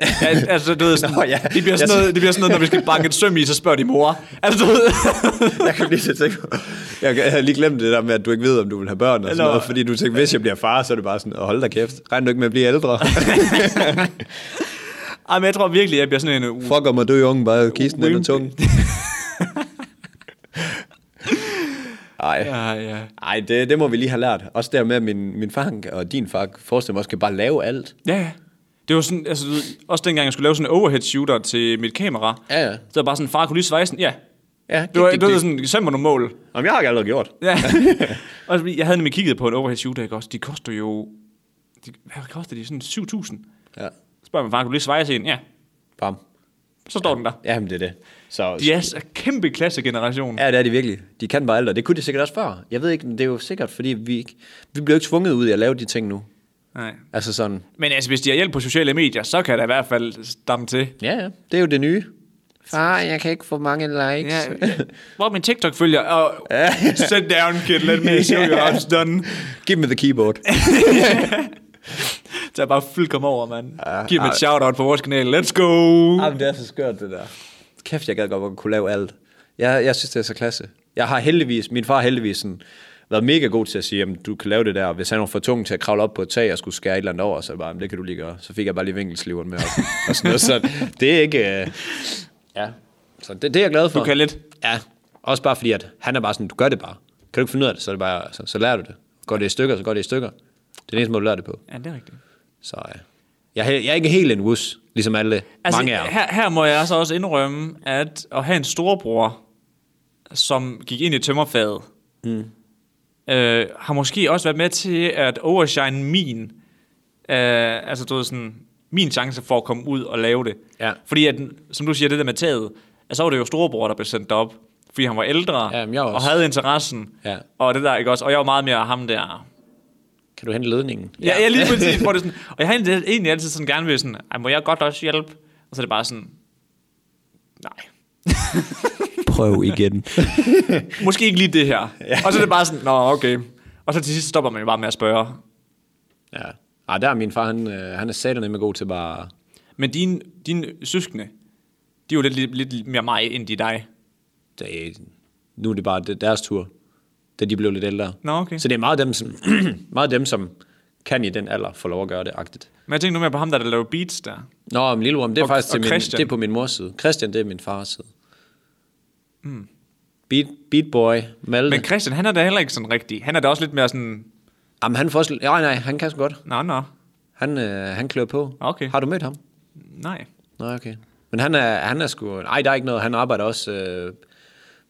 Speaker 1: Ja, altså, du ved, sådan,
Speaker 2: Nå, ja.
Speaker 1: det, bliver
Speaker 2: Jeg
Speaker 1: sådan noget, det bliver sådan noget, når vi skal banke et søm i, så spørger de mor. Altså, du ved,
Speaker 2: Jeg kan blive til at tænke på. Jeg, kan- jeg havde lige glemt det der med, at du ikke ved, om du vil have børn og sådan
Speaker 1: Nå.
Speaker 2: noget, fordi du tænkte, hvis jeg bliver far, så er det bare sådan, "Åh, hold da kæft, regn du ikke med at blive ældre.
Speaker 1: Ej, men jeg tror virkelig, jeg bliver sådan en... Uh,
Speaker 2: Fuck om at dø unge, bare kisten under
Speaker 1: Wimpy.
Speaker 2: tungen. Ej,
Speaker 1: ja, ja.
Speaker 2: Ej det, det, må vi lige have lært. Også der med, at min, min far han- og din far, forestil mig også, kan bare lave alt.
Speaker 1: Ja, ja. Det var sådan, altså, du ved, også dengang jeg skulle lave sådan en overhead shooter til mit kamera.
Speaker 2: Ja, ja.
Speaker 1: Så var bare sådan, far kunne lige svejsen. Ja.
Speaker 2: Ja,
Speaker 1: Det var,
Speaker 2: gik,
Speaker 1: det var
Speaker 2: gik.
Speaker 1: sådan, så var nogle mål.
Speaker 2: Jamen, jeg har ikke allerede gjort.
Speaker 1: Ja. og jeg havde nemlig kigget på en overhead shooter, ikke også? De koster jo... De, hvad koster de? Sådan 7.000.
Speaker 2: Ja.
Speaker 1: Spørger man far, kunne du lige svejse en? Ja.
Speaker 2: Bam.
Speaker 1: Så står den der.
Speaker 2: Jamen, det er det. Så,
Speaker 1: De er så kæmpe klassegeneration.
Speaker 2: Ja, det er de virkelig. De kan bare alt, og det kunne de sikkert også før. Jeg ved ikke, men det er jo sikkert, fordi vi, ikke, vi bliver jo ikke tvunget ud i at lave de ting nu.
Speaker 1: Nej.
Speaker 2: Altså sådan,
Speaker 1: Men altså, hvis de har hjælp på sociale medier, så kan der i hvert fald stamme til.
Speaker 2: ja, ja, det er jo det nye. Far, jeg kan ikke få mange likes.
Speaker 1: Ja, Hvor min TikTok-følger? Og sit down, kid. Let me show you how it's done.
Speaker 2: Give me the keyboard.
Speaker 1: Så jeg bare fuldkommen over, mand. Giv mig et shout-out på vores kanal. Let's go!
Speaker 2: Jamen, det er så skørt, det der. Kæft, jeg gad godt, at kunne lave alt. Jeg, jeg synes, det er så klasse. Jeg har heldigvis, min far har heldigvis sådan, været mega god til at sige, jamen, du kan lave det der. Og Hvis han var for tung til at kravle op på et tag og skulle skære et eller andet over, så bare, "Jamen, det kan du lige gøre. Så fik jeg bare lige vinkelsliveren med op. og sådan noget. Så det er ikke... Øh... Ja. Så det, det, er jeg glad for.
Speaker 1: Du kan lidt.
Speaker 2: Ja. Også bare fordi, at han er bare sådan, du gør det bare. Kan du ikke finde ud af det, så, er det bare, så, så lærer du det. Går det i stykker, så går det i stykker. Det er den eneste måde, du lærer det på.
Speaker 1: Ja, det er rigtigt.
Speaker 2: Så øh, jeg, er he- jeg er ikke helt en wus, ligesom alle altså, mange af jer.
Speaker 1: her, her må jeg altså også indrømme, at at have en storebror, som gik ind i tømmerfaget, mm. øh, har måske også været med til at overshine min, øh, altså du ved sådan, min chance for at komme ud og lave det.
Speaker 2: Ja.
Speaker 1: Fordi at, som du siger, det der med taget, altså så var det jo storebror, der blev sendt op, fordi han var ældre,
Speaker 2: Ja, men jeg
Speaker 1: og
Speaker 2: også.
Speaker 1: havde interessen,
Speaker 2: Ja.
Speaker 1: og det der, ikke også? Og jeg var meget mere ham der,
Speaker 2: Kan du hente ledningen?
Speaker 1: Ja, ja lige præcis. Hvor det er sådan, og jeg har egentlig, egentlig altid sådan gerne vil sådan, "Ej, må jeg godt også hjælpe? Og så er det bare sådan, nej.
Speaker 2: Prøv igen.
Speaker 1: Måske ikke lige det her. Ja. Og så er det bare sådan, nå, okay. Og så til sidst stopper man jo bare med at spørge.
Speaker 2: ja. Ah, der er min far, han, øh, han er satan med god til bare...
Speaker 1: Men dine, dine søskende, de er jo lidt, lidt, lidt mere mig, end de er dig.
Speaker 2: Det, nu er det bare det, deres tur, da de blev lidt ældre.
Speaker 1: Nå, okay.
Speaker 2: Så det er meget dem, som, meget dem, som kan i den alder få lov at gøre det, agtigt.
Speaker 1: Men jeg tænker nu mere på ham, der, der laver beats der.
Speaker 2: Nå, men Lillerum, det er
Speaker 1: Og-
Speaker 2: faktisk
Speaker 1: og
Speaker 2: til min,
Speaker 1: Christian.
Speaker 2: det er på min mors side. Christian, det er min fars side. Beat, Beat Boy, Malte.
Speaker 1: Hmm. Men Christian, han er da heller ikke sådan rigtig. Han er da også lidt mere sådan,
Speaker 2: Jamen, han får også... Nej, nej, han kan sgu godt.
Speaker 1: nå, nå,
Speaker 2: Han, øh, han klør på.
Speaker 1: Okay.
Speaker 2: Har du mødt ham?
Speaker 1: nej.
Speaker 2: Nej, okay. Men han er, han er sgu... Nej, der er ikke noget. Han arbejder også øh,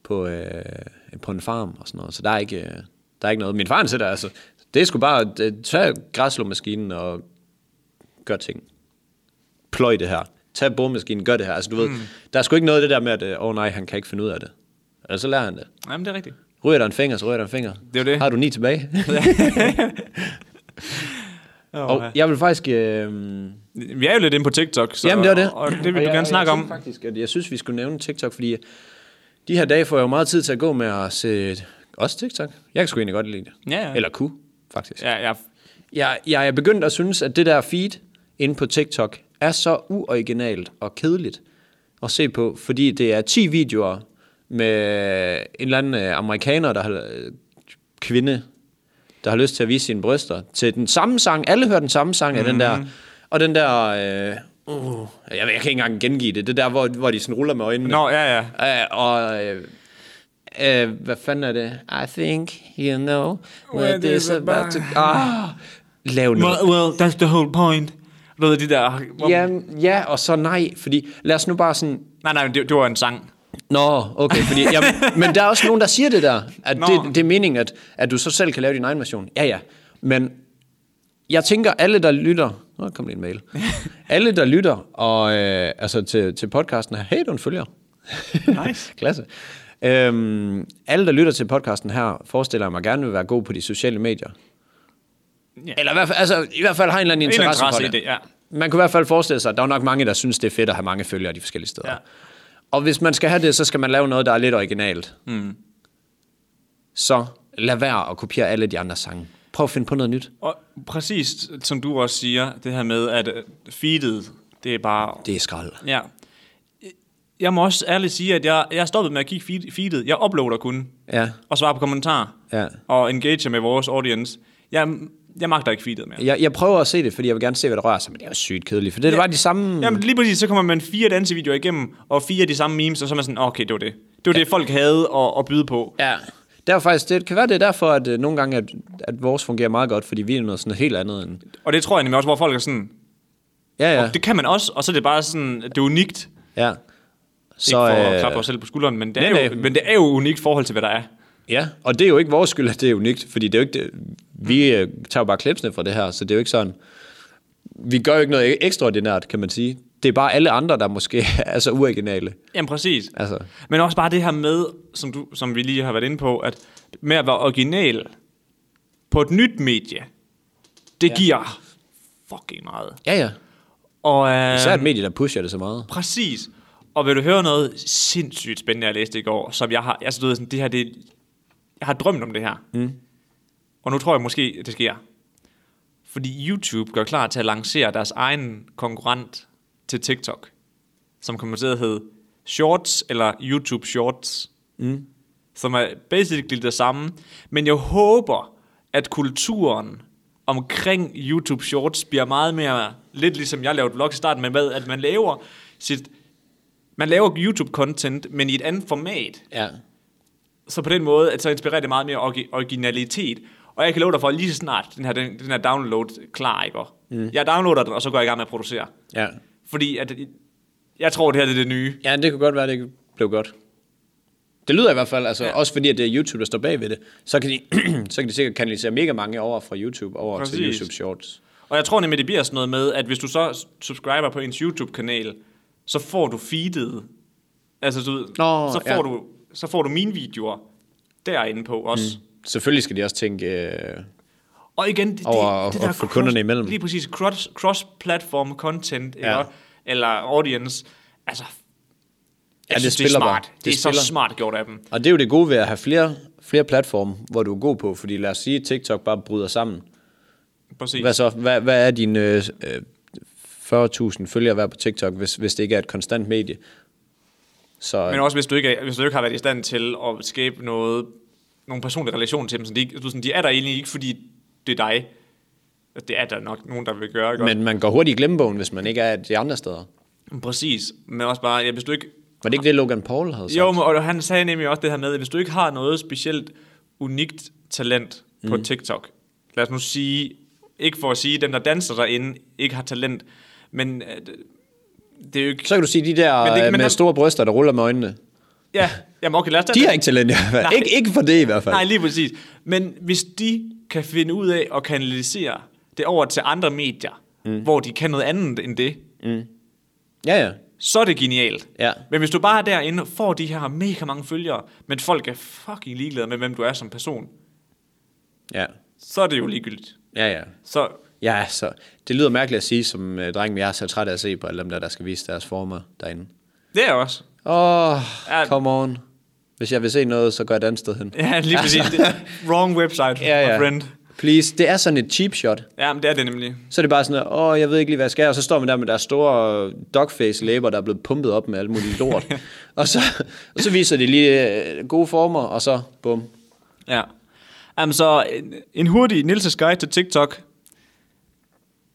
Speaker 2: på, øh, på en farm og sådan noget, så der er ikke, øh, der er ikke noget. Min far han sætter altså... Det er sgu bare... Øh, tag græsslåmaskinen og gør ting. Pløj det her. Tag boremaskinen, gør det her. Altså, du ved, mm. der er sgu ikke noget af det der med, at øh, åh oh, nej, han kan ikke finde ud af det. Eller så lærer han det.
Speaker 1: Jamen, det er rigtigt.
Speaker 2: Ryger der en finger, så ryger der en finger.
Speaker 1: er jo det.
Speaker 2: Har du ni tilbage? og jeg vil faktisk... Øh,
Speaker 1: Vi er jo lidt inde på TikTok, så,
Speaker 2: Jamen, det var det.
Speaker 1: og det vil
Speaker 2: Og
Speaker 1: du
Speaker 2: jeg-
Speaker 1: gerne snakke
Speaker 2: jeg
Speaker 1: om.
Speaker 2: synes Faktisk, at jeg synes, vi skulle nævne TikTok, fordi de her dage får jeg jo meget tid til at gå med at se også TikTok. Jeg kan sgu egentlig godt lide det.
Speaker 1: Ja, ja.
Speaker 2: Eller kunne, faktisk. Ja.
Speaker 1: Ja, ja,
Speaker 2: Jeg, jeg er begyndt at synes, at det der feed inde på TikTok er så uoriginalt og kedeligt at se på, fordi det er 10 videoer med en eller anden øh, amerikaner, der har øh, kvinde, der har lyst til at vise sine bryster, til den samme sang. Alle hører den samme sang af den der. Og den der... Øh, uh, jeg, jeg kan ikke engang gengive det. Det der, hvor, hvor de sådan ruller med øjnene.
Speaker 1: Nå, ja, ja.
Speaker 2: Øh, og... Øh, øh, hvad fanden er det? I think you know what
Speaker 1: What
Speaker 2: this
Speaker 1: is
Speaker 2: about to... Ah, lav noget.
Speaker 1: Well, well, that's the whole point. Du ved, de der... Hvor...
Speaker 2: Ja, ja, og så nej, fordi lad os nu bare sådan...
Speaker 1: Nej, nej, men det, det var en sang.
Speaker 2: Nå, okay, fordi, ja, men der er også nogen, der siger det der, at
Speaker 1: Nå.
Speaker 2: det, det er meningen, at, at du så selv kan lave din egen version. Ja, ja, men jeg tænker, alle der lytter... Nå, der kom lige en mail. alle, der lytter og, øh, altså til, til podcasten her, hey, du er en følger.
Speaker 1: Nice.
Speaker 2: Klasse. Øhm, alle, der lytter til podcasten her, forestiller jeg mig gerne vil være god på de sociale medier.
Speaker 1: Ja.
Speaker 2: Ja. Eller i hvert, fald, altså, i hvert fald har en eller anden
Speaker 1: En eller anden interesse
Speaker 2: interesse, for det.
Speaker 1: i det, ja.
Speaker 2: Man kunne i hvert fald forestille sig, at der er nok mange, der synes, det er fedt at have mange følgere de forskellige steder.
Speaker 1: Ja.
Speaker 2: Ja. Og hvis man skal have det, så skal man lave noget, der er lidt originalt. Mm. Så lad være at kopiere alle de andre sange. Prøv at finde på noget nyt.
Speaker 1: Og præcis som du også siger, det her med, at øh, feedet, det er bare...
Speaker 2: Det er skrald.
Speaker 1: Ja. Jeg må også ærligt sige, at jeg, jeg er stoppet med at kigge feed, feedet. Jeg uploader kun.
Speaker 2: Ja.
Speaker 1: Og svarer på kommentarer.
Speaker 2: Ja.
Speaker 1: Og engager med vores audience. Jeg, jeg magter ikke feedet mere.
Speaker 2: Jeg, jeg prøver at se det, fordi jeg vil gerne se, hvad der rører sig, men det er jo sygt kedeligt, for det er bare de samme...
Speaker 1: Jamen lige præcis, så kommer man fire dansevideoer igennem, og fire af de samme memes, og så er man sådan, okay, det var det. Det var ja. det, folk havde at, at byde på.
Speaker 2: Ja. Det, er faktisk, det kan være, det er derfor, at øh, nogle gange, at, at vores fungerer meget godt, fordi vi er noget sådan helt andet end...
Speaker 1: Og det tror jeg nemlig også, hvor folk er sådan,
Speaker 2: Ja, ja.
Speaker 1: ja. det kan man også, og så er det bare sådan, at det er unikt.
Speaker 2: ja.
Speaker 1: Så, ikke for at
Speaker 2: øh,
Speaker 1: klappe os selv på skulderen, men det,
Speaker 2: nej,
Speaker 1: er jo,
Speaker 2: nej.
Speaker 1: men det er jo unikt i forhold til, hvad der er.
Speaker 2: Ja, og det er jo ikke vores skyld, at det er unikt, fordi det er jo ikke det. Vi øh, tager jo bare klipsene fra det her, så det er jo ikke sådan... Vi gør jo ikke noget ekstraordinært, kan man sige. Det er bare alle andre, der måske er så uoriginale.
Speaker 1: Jamen præcis.
Speaker 2: Altså.
Speaker 1: Men også bare det her med, som, du, som vi lige har været inde på, at med at være original på et nyt medie, det ja. giver fucking meget.
Speaker 2: Ja, ja.
Speaker 1: Og, øh,
Speaker 2: Så er et medie, der pusher det så meget.
Speaker 1: Præcis. Og vil du høre noget sindssygt spændende, jeg læste i går, som jeg har, jeg stod sådan, det her, det, jeg har drømt om det her. Mm. Og nu tror jeg måske, at det sker. Fordi YouTube gør klar til at lancere deres egen konkurrent til TikTok, som kommer til at hedde Shorts eller YouTube Shorts, mm. som er basically det samme. Men jeg håber, at kulturen omkring YouTube Shorts bliver meget mere, lidt ligesom jeg lavede vlog i starten, men med, at man laver sit, man laver YouTube-content, men i et andet format.
Speaker 2: Ja.
Speaker 1: Så på den måde, at så inspirerer det meget mere orgi- originalitet. Og jeg kan love dig for, at lige så snart den her, den, den her download klar, ikke? Mm. Jeg downloader den, og så går jeg i gang med at producere.
Speaker 2: ja.
Speaker 1: Fordi at, jeg tror, det her det er det nye.
Speaker 2: Ja, det kunne godt være, det blev godt. Det lyder i hvert fald, altså ja. også fordi, at det er YouTube, der står bag ved det, så kan de, så kan de sikkert kanalisere mega mange over fra YouTube over Præcis. til
Speaker 1: Præcis.
Speaker 2: YouTube Shorts.
Speaker 1: Og jeg tror nemlig, det bliver sådan noget med, at hvis du så subscriber på ens YouTube-kanal, så får du feedet. Altså, du, ved,
Speaker 2: Nå,
Speaker 1: så, får
Speaker 2: ja.
Speaker 1: du, så får du mine videoer derinde på også. Mm.
Speaker 2: Selvfølgelig skal de også tænke, øh,
Speaker 1: Og igen, det,
Speaker 2: Over
Speaker 1: det,
Speaker 2: at-
Speaker 1: det
Speaker 2: at få kunderne imellem.
Speaker 1: Lige præcis, cross, cross-platform content, ja.
Speaker 2: Ja.
Speaker 1: eller, eller audience. Altså, jeg
Speaker 2: det
Speaker 1: synes, det er
Speaker 2: spiller bare.
Speaker 1: smart. Det,
Speaker 2: Det
Speaker 1: det er
Speaker 2: spiller.
Speaker 1: så smart gjort af dem.
Speaker 2: Og det er jo det gode ved at have flere, flere platforme, hvor du er god på, fordi lad os sige, at TikTok bare bryder sammen.
Speaker 1: Præcis.
Speaker 2: Hvad så? Hvad, hvad er dine øh, øh, 40.000 følgere hver på TikTok, hvis, hvis det ikke er et konstant medie? Så
Speaker 1: Men også, hvis du, ikke, er- hvis du ikke har været i stand til at skabe noget, nogle personlige relationer til dem, så de, ikke- du, sådan, de er der egentlig ikke, fordi det er dig. Det er der nok nogen, der vil gøre. Ikke?
Speaker 2: men man går hurtigt i glemmebogen, hvis man ikke er de andre steder.
Speaker 1: Men præcis. Men også bare, ja, hvis du ikke
Speaker 2: Var det ikke det, Logan Paul havde sagt?
Speaker 1: Jo, men- og han sagde nemlig også det her med, at hvis du ikke har noget specielt unikt talent
Speaker 2: Mm.
Speaker 1: på TikTok, lad os nu sige, ikke for at sige, at dem, der danser derinde, ikke har talent, men øh, det er jo ikke...
Speaker 2: Så kan du sige, de der
Speaker 1: Men det-
Speaker 2: det,
Speaker 1: men
Speaker 2: med
Speaker 1: han-
Speaker 2: store bryster, der ruller med øjnene.
Speaker 1: Ja, jamen okay, lad os da-
Speaker 2: De har ikke talent i hvert fald.
Speaker 1: Nej.
Speaker 2: Ikke, ikke for det i hvert fald.
Speaker 1: Nej, lige præcis. Men hvis de kan finde ud af at kanalisere det over til andre medier, mm. hvor de kan noget andet end det,
Speaker 2: Ja, ja.
Speaker 1: så er det genialt.
Speaker 2: Ja.
Speaker 1: Men hvis du bare er derinde, får de her mega mange følgere, men folk er fucking ligeglade med, hvem du er som person,
Speaker 2: Ja,
Speaker 1: så er det jo ligegyldigt.
Speaker 2: ja. ja.
Speaker 1: Så
Speaker 2: Ja, så det lyder mærkeligt at sige som øh, dreng, men jeg er så træt af at se på alle dem der, der skal vise deres former derinde.
Speaker 1: det er jeg også.
Speaker 2: Åh, oh,
Speaker 1: Ja.
Speaker 2: come on. Hvis jeg vil se noget, så går jeg et andet sted hen.
Speaker 1: Ja, lige præcis. Det, wrong website,
Speaker 2: ja, ja.
Speaker 1: my friend.
Speaker 2: Please, det er sådan et cheap shot.
Speaker 1: Ja, men det er det nemlig.
Speaker 2: Så er det bare sådan, at, åh, jeg ved ikke lige, hvad jeg skal. Og så står man der med deres store øh, dogface-læber, der er blevet pumpet op med alt muligt lort. og, så, og så viser de lige øh, gode former, og så bum.
Speaker 1: Ja. Jamen så, en, en hurtig Nilses guide til TikTok.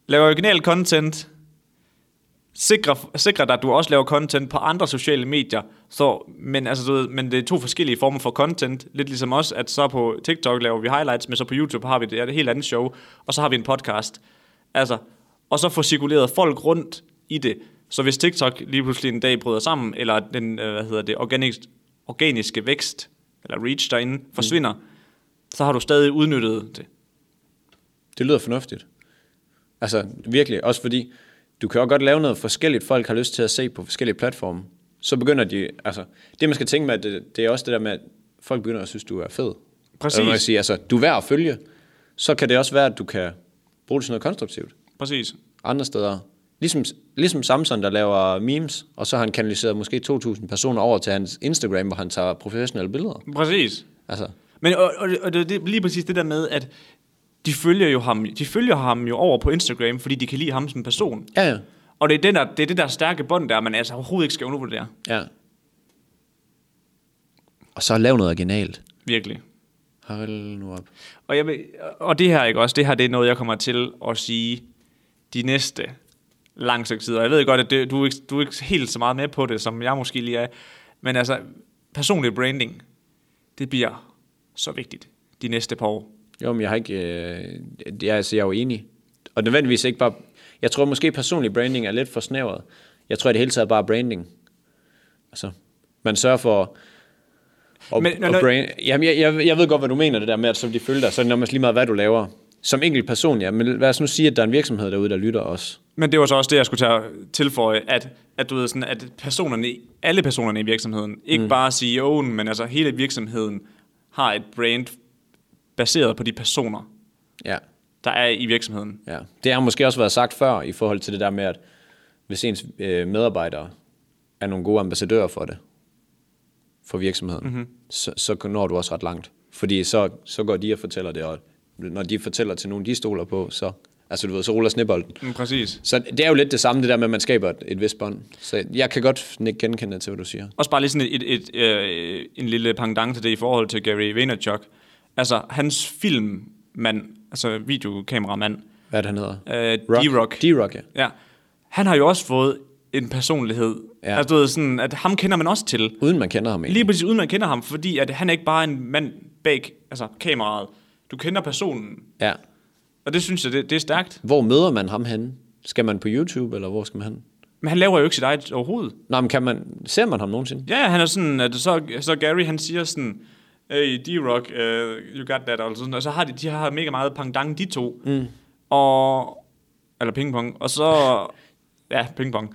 Speaker 1: Lav original content. Sikre, sikre dig, at du også laver content på andre sociale medier. Så, men, altså, du ved, men det er to forskellige former for content. Lidt ligesom os, at så på TikTok laver vi highlights, men så på YouTube har vi det, er det helt andet show. Og så har vi en podcast. Altså, og så få cirkuleret folk rundt i det. Så hvis TikTok lige pludselig en dag bryder sammen, eller den, øh, hvad hedder det, organisk, organiske vækst, eller reach derinde, forsvinder, mm. så har du stadig udnyttet det.
Speaker 2: Det lyder fornuftigt. Altså virkelig, også fordi du kan jo godt lave noget forskelligt, folk har lyst til at se på forskellige platforme. Så begynder de, altså det man skal tænke med, det, det er også det der med, at folk begynder at synes, du er fed.
Speaker 1: Præcis.
Speaker 2: Eller man kan sige, altså du er værd at følge. Så kan det også være, at du kan bruge det til noget konstruktivt
Speaker 1: Præcis.
Speaker 2: andre steder. Ligesom, ligesom Samson, der laver memes, og så har han kanaliseret måske 2.000 personer over til hans Instagram, hvor han tager professionelle billeder.
Speaker 1: Præcis.
Speaker 2: Altså,
Speaker 1: Men og, og, og det, det, lige præcis det der med, at de følger, jo ham, de følger ham jo over på Instagram, fordi de kan lide ham som person.
Speaker 2: ja, ja.
Speaker 1: Og det er, den der, det er det der stærke bånd der, man altså overhovedet ikke skal undervurdere.
Speaker 2: ja. Og så lav noget originalt.
Speaker 1: Virkelig.
Speaker 2: Hold nu op.
Speaker 1: Og, jeg, vil- og det her, ikke også? Det her, det er noget, jeg kommer til at sige de næste lang stykke tid. Og jeg ved godt, at det, du, er ikke, du er ikke helt så meget med på det, som jeg måske lige er. Men altså, personlig branding, det bliver så vigtigt de næste par år.
Speaker 2: Jo, men jeg har ikke... Øh, jeg, altså, jeg er jo enig. Og nødvendigvis ikke bare... Jeg tror måske personlig branding er lidt for snævret. Jeg tror i det hele taget bare branding. Altså, man sørger for... Og,
Speaker 1: Men-
Speaker 2: men,
Speaker 1: når-
Speaker 2: og brand, jamen, jeg, jeg, jeg ved godt, hvad du mener, det der med, at så vil de følge dig, så er det nærmest lige meget, hvad du laver. Som enkelt person, ja. Men lad os nu sige, at der er en virksomhed derude, der lytter os.
Speaker 1: Men det var så også det, jeg skulle tage tilføje, at, at du ved sådan, at personerne, i- alle personerne i virksomheden, ikke mm. bare CEO'en, men altså hele virksomheden, har et brand baseret på de personer,
Speaker 2: Ja,
Speaker 1: der er i virksomheden.
Speaker 2: ja. Det har måske også været sagt før, i forhold til det der med, at hvis ens øh, medarbejdere er nogle gode ambassadører for det, for virksomheden,
Speaker 1: Mhm.
Speaker 2: mm-hmm. så, så når du også ret langt. Fordi så, så går de og fortæller det, og når de fortæller til nogen, de stoler på, så, altså du ved, så ruller snebolden.
Speaker 1: Mm, præcis.
Speaker 2: Så det er jo lidt det samme, det der med, at man skaber et, et vist bånd. Så jeg kan godt ikke genkende til, hvad du siger.
Speaker 1: Også bare lige sådan et, et, et, øh, en lille pendant til det i forhold til Gary Vaynerchuk. Altså, hans filmmand, altså videokameramand,
Speaker 2: Hvad er det, han hedder?
Speaker 1: øh,
Speaker 2: Rock.
Speaker 1: D-Rock,
Speaker 2: D-Rock, ja.
Speaker 1: ja. han har jo også fået en personlighed. Ja.
Speaker 2: Ja.
Speaker 1: Altså, du ved, sådan, at ham kender man også til.
Speaker 2: Uden man kender ham egentlig.
Speaker 1: Lige præcis uden man kender ham, fordi at han er ikke bare er en mand bag altså, kameraet. Du kender personen,
Speaker 2: Ja.
Speaker 1: og det synes jeg, det, det er stærkt.
Speaker 2: Hvor møder man ham henne? Skal man på YouTube, eller hvor skal man hen?
Speaker 1: Men han laver jo ikke sit eget overhovedet.
Speaker 2: Nå, men kan man, ser man ham nogensinde?
Speaker 1: Ja, han er sådan, at så, så Gary han siger sådan, hey, D-Rock, uh, you got that, og, sådan, og så har de, de har mega meget pangdang, de to. Mm. Og, eller pingpong, og så, ja, pingpong.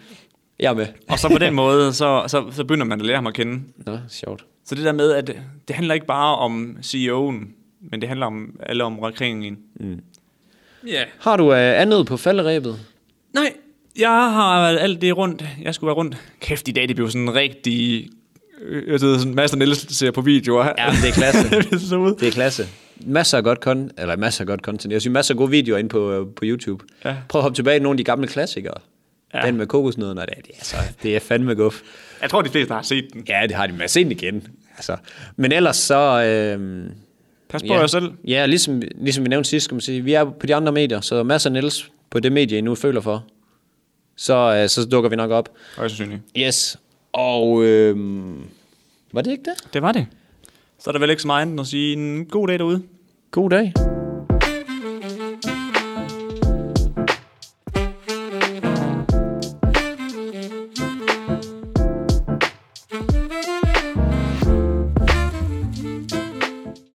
Speaker 2: Jeg er med.
Speaker 1: Og så på den måde, så, så, så begynder man at lære ham at kende.
Speaker 2: Nå, sjovt.
Speaker 1: Så det der med, at det handler ikke bare om CEO'en, men det handler om alle omkring en. Mm. Ja.
Speaker 2: Har du øh, andet på falderæbet?
Speaker 1: Nej, jeg har alt det rundt. Jeg skulle være rundt. Kæft, i dag det blev sådan en rigtig... øh, Jeg ved, sådan Mads og Niels ser på videoer.
Speaker 2: Ja, men det er klasse.
Speaker 1: det så ud.
Speaker 2: Det er klasse. Masser af godt content, eller masser af godt content. Jeg synes, masser af gode videoer inde på, øh, på YouTube.
Speaker 1: Ja.
Speaker 2: Prøv at hoppe tilbage i nogle af de gamle klassikere.
Speaker 1: Ja.
Speaker 2: Ja. Den med kokosnødderne, det, det, er så, det er fandme guf.
Speaker 1: Jeg tror, de fleste har set den.
Speaker 2: Ja, det har de med sent igen. Altså. Men ellers så... Øh,
Speaker 1: Pas på
Speaker 2: ja.
Speaker 1: jer selv.
Speaker 2: Ja, ligesom, ligesom vi nævnte sidst, skal man sige, vi er på de andre medier, så masser af Niels på det medie, I nu føler for. Så, øh, så dukker vi nok op.
Speaker 1: Højst sandsynligt.
Speaker 2: Yes. Og øhm, var det ikke det?
Speaker 1: Det var det. Så er der vel ikke så meget andet end at sige en god dag derude.
Speaker 2: God dag.